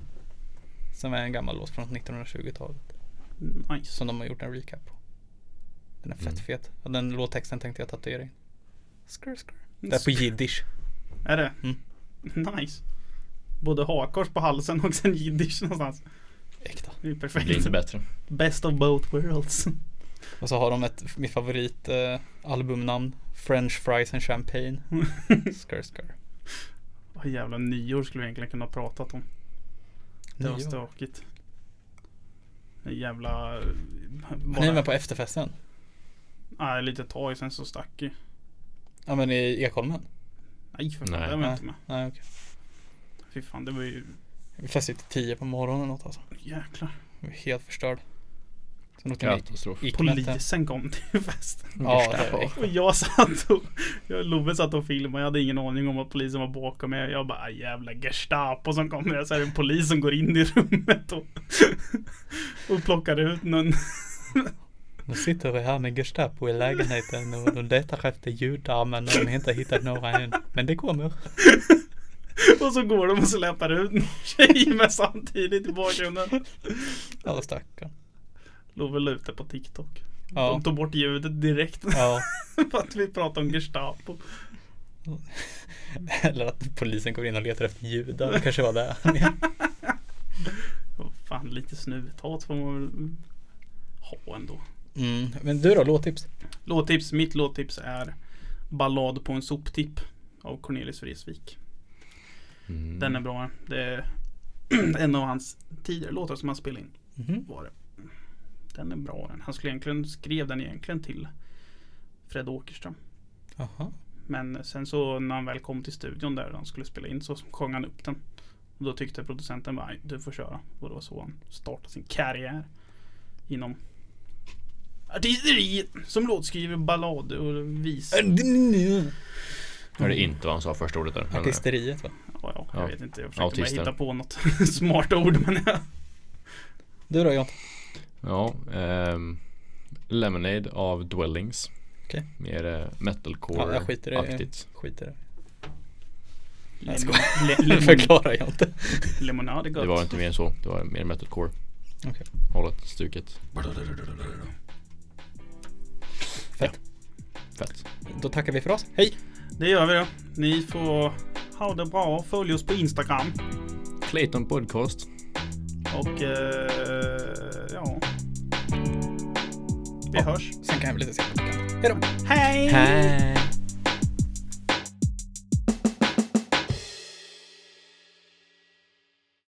Speaker 2: som är en gammal låt från 1920-talet
Speaker 1: Nice.
Speaker 2: som de har gjort en recap på. Den är fett
Speaker 3: Mm.
Speaker 2: fet och den låttexten tänkte jag tatuera in. Skrr, skrr. Det är på jiddisch.
Speaker 1: Är det?
Speaker 2: Mm.
Speaker 1: [laughs] Nice. Både hakkors på halsen och sen jiddisch någonstans.
Speaker 2: Äkta.
Speaker 1: Det är
Speaker 3: Det blir
Speaker 1: perfekt.
Speaker 3: inte bättre.
Speaker 1: Best of both worlds. [laughs]
Speaker 2: Och så har de ett, mitt favorit eh, albumnamn French fries and champagne Skr skr
Speaker 1: Vad jävla nyår skulle vi egentligen kunna ha pratat om. Det var
Speaker 2: Nyår.
Speaker 1: stökigt. En jävla... eh,
Speaker 2: Men Ni är med på efterfesten?
Speaker 1: Nej, lite tag sen så stack ju.
Speaker 2: Ja men i Ekholmen?
Speaker 1: Nej för fan,
Speaker 3: Nej.
Speaker 1: det var jag inte med.
Speaker 2: Nej okej
Speaker 1: Fy fan, det var ju
Speaker 2: Vi festade till tio på morgonen eller något alltså
Speaker 1: jäklar.
Speaker 2: Vi var helt förstörd Sen åkte vi
Speaker 3: [laughs] Katastrof.
Speaker 2: gick med
Speaker 1: Polisen kom till [laughs] festen.
Speaker 2: Ja, det var
Speaker 1: Och jag satt och, jag, Love satt och filmade. Jag hade ingen aning om att polisen var bakom mig. Jag bara, "Ah, jävla Gestapo som kommer. Jag säger en polis som går in i rummet och, och plockar ut någon. [laughs]
Speaker 2: Nu sitter vi här med Gestapo i lägenheten och de letar efter judar men de har inte hittat några än Men det kommer
Speaker 1: Och så går de och släpar ut en tjej med samtidigt i bakgrunden.
Speaker 2: Ja stackarn
Speaker 1: Love la ut det på TikTok.
Speaker 2: Ja
Speaker 1: De tog bort ljudet direkt [laughs]
Speaker 2: Ja
Speaker 1: för att vi pratade om Gestapo.
Speaker 2: Eller att polisen går in och letar efter judar Det kanske var det
Speaker 1: Och fan, lite snuthat får man väl ha ändå.
Speaker 2: mm. Men du då låttips?
Speaker 1: Låttips, mitt låttips är Ballad på en soptipp av Cornelis Vreeswijk.
Speaker 3: Mm.
Speaker 1: Den är bra. Det är [clears throat] en av hans tidigare låtar som han spelade in.
Speaker 2: Mhm.
Speaker 1: Var det. Den är bra den. Han skulle egentligen skrev den egentligen till Fred Åkerström.
Speaker 2: Aha.
Speaker 1: Men sen så när han väl kom till studion där han skulle spela in så sjöng han upp den. Och då tyckte producenten bara, "Nej, du får köra. Och det var så han startade sin karriär. Inom artisteri som låtskriver ballad och vis.
Speaker 3: Hörde inte vad han sa första ordet där. men, eh,
Speaker 2: Artisteriet va?
Speaker 1: Ja, ja, jag
Speaker 3: Ja.
Speaker 1: vet inte. Jag försökte bara
Speaker 3: Autisten.
Speaker 1: hitta på något [laughs] smart ord. Men jag...
Speaker 2: Du då John?
Speaker 3: Ja, ehm, Lemonade av Dwellings.
Speaker 2: Okej.
Speaker 3: Mer
Speaker 2: Ja,
Speaker 3: eh,
Speaker 2: jag skiter i-
Speaker 3: metalcore-aktigt.
Speaker 2: Skit i det.
Speaker 1: Lemon-
Speaker 2: skojar.
Speaker 1: le-
Speaker 2: [laughs] Nu
Speaker 1: lemon-
Speaker 2: förklarar jag inte.
Speaker 1: Lemonade är
Speaker 3: Det var
Speaker 1: gott.
Speaker 3: inte mer än så. Det var mer metalcore.
Speaker 2: Okej.
Speaker 3: Hållet, stuket.
Speaker 2: Fett.
Speaker 3: Fett.
Speaker 2: Då tackar vi för oss. Hej!
Speaker 1: Det gör vi då. Ni får ha det bra. Följ oss på Instagram.
Speaker 3: Clayton Podcast.
Speaker 1: Och eh, ja. Vi hörs.
Speaker 2: Sen kan jag bli lite sen. Hej då!
Speaker 1: Hej!
Speaker 3: Hej!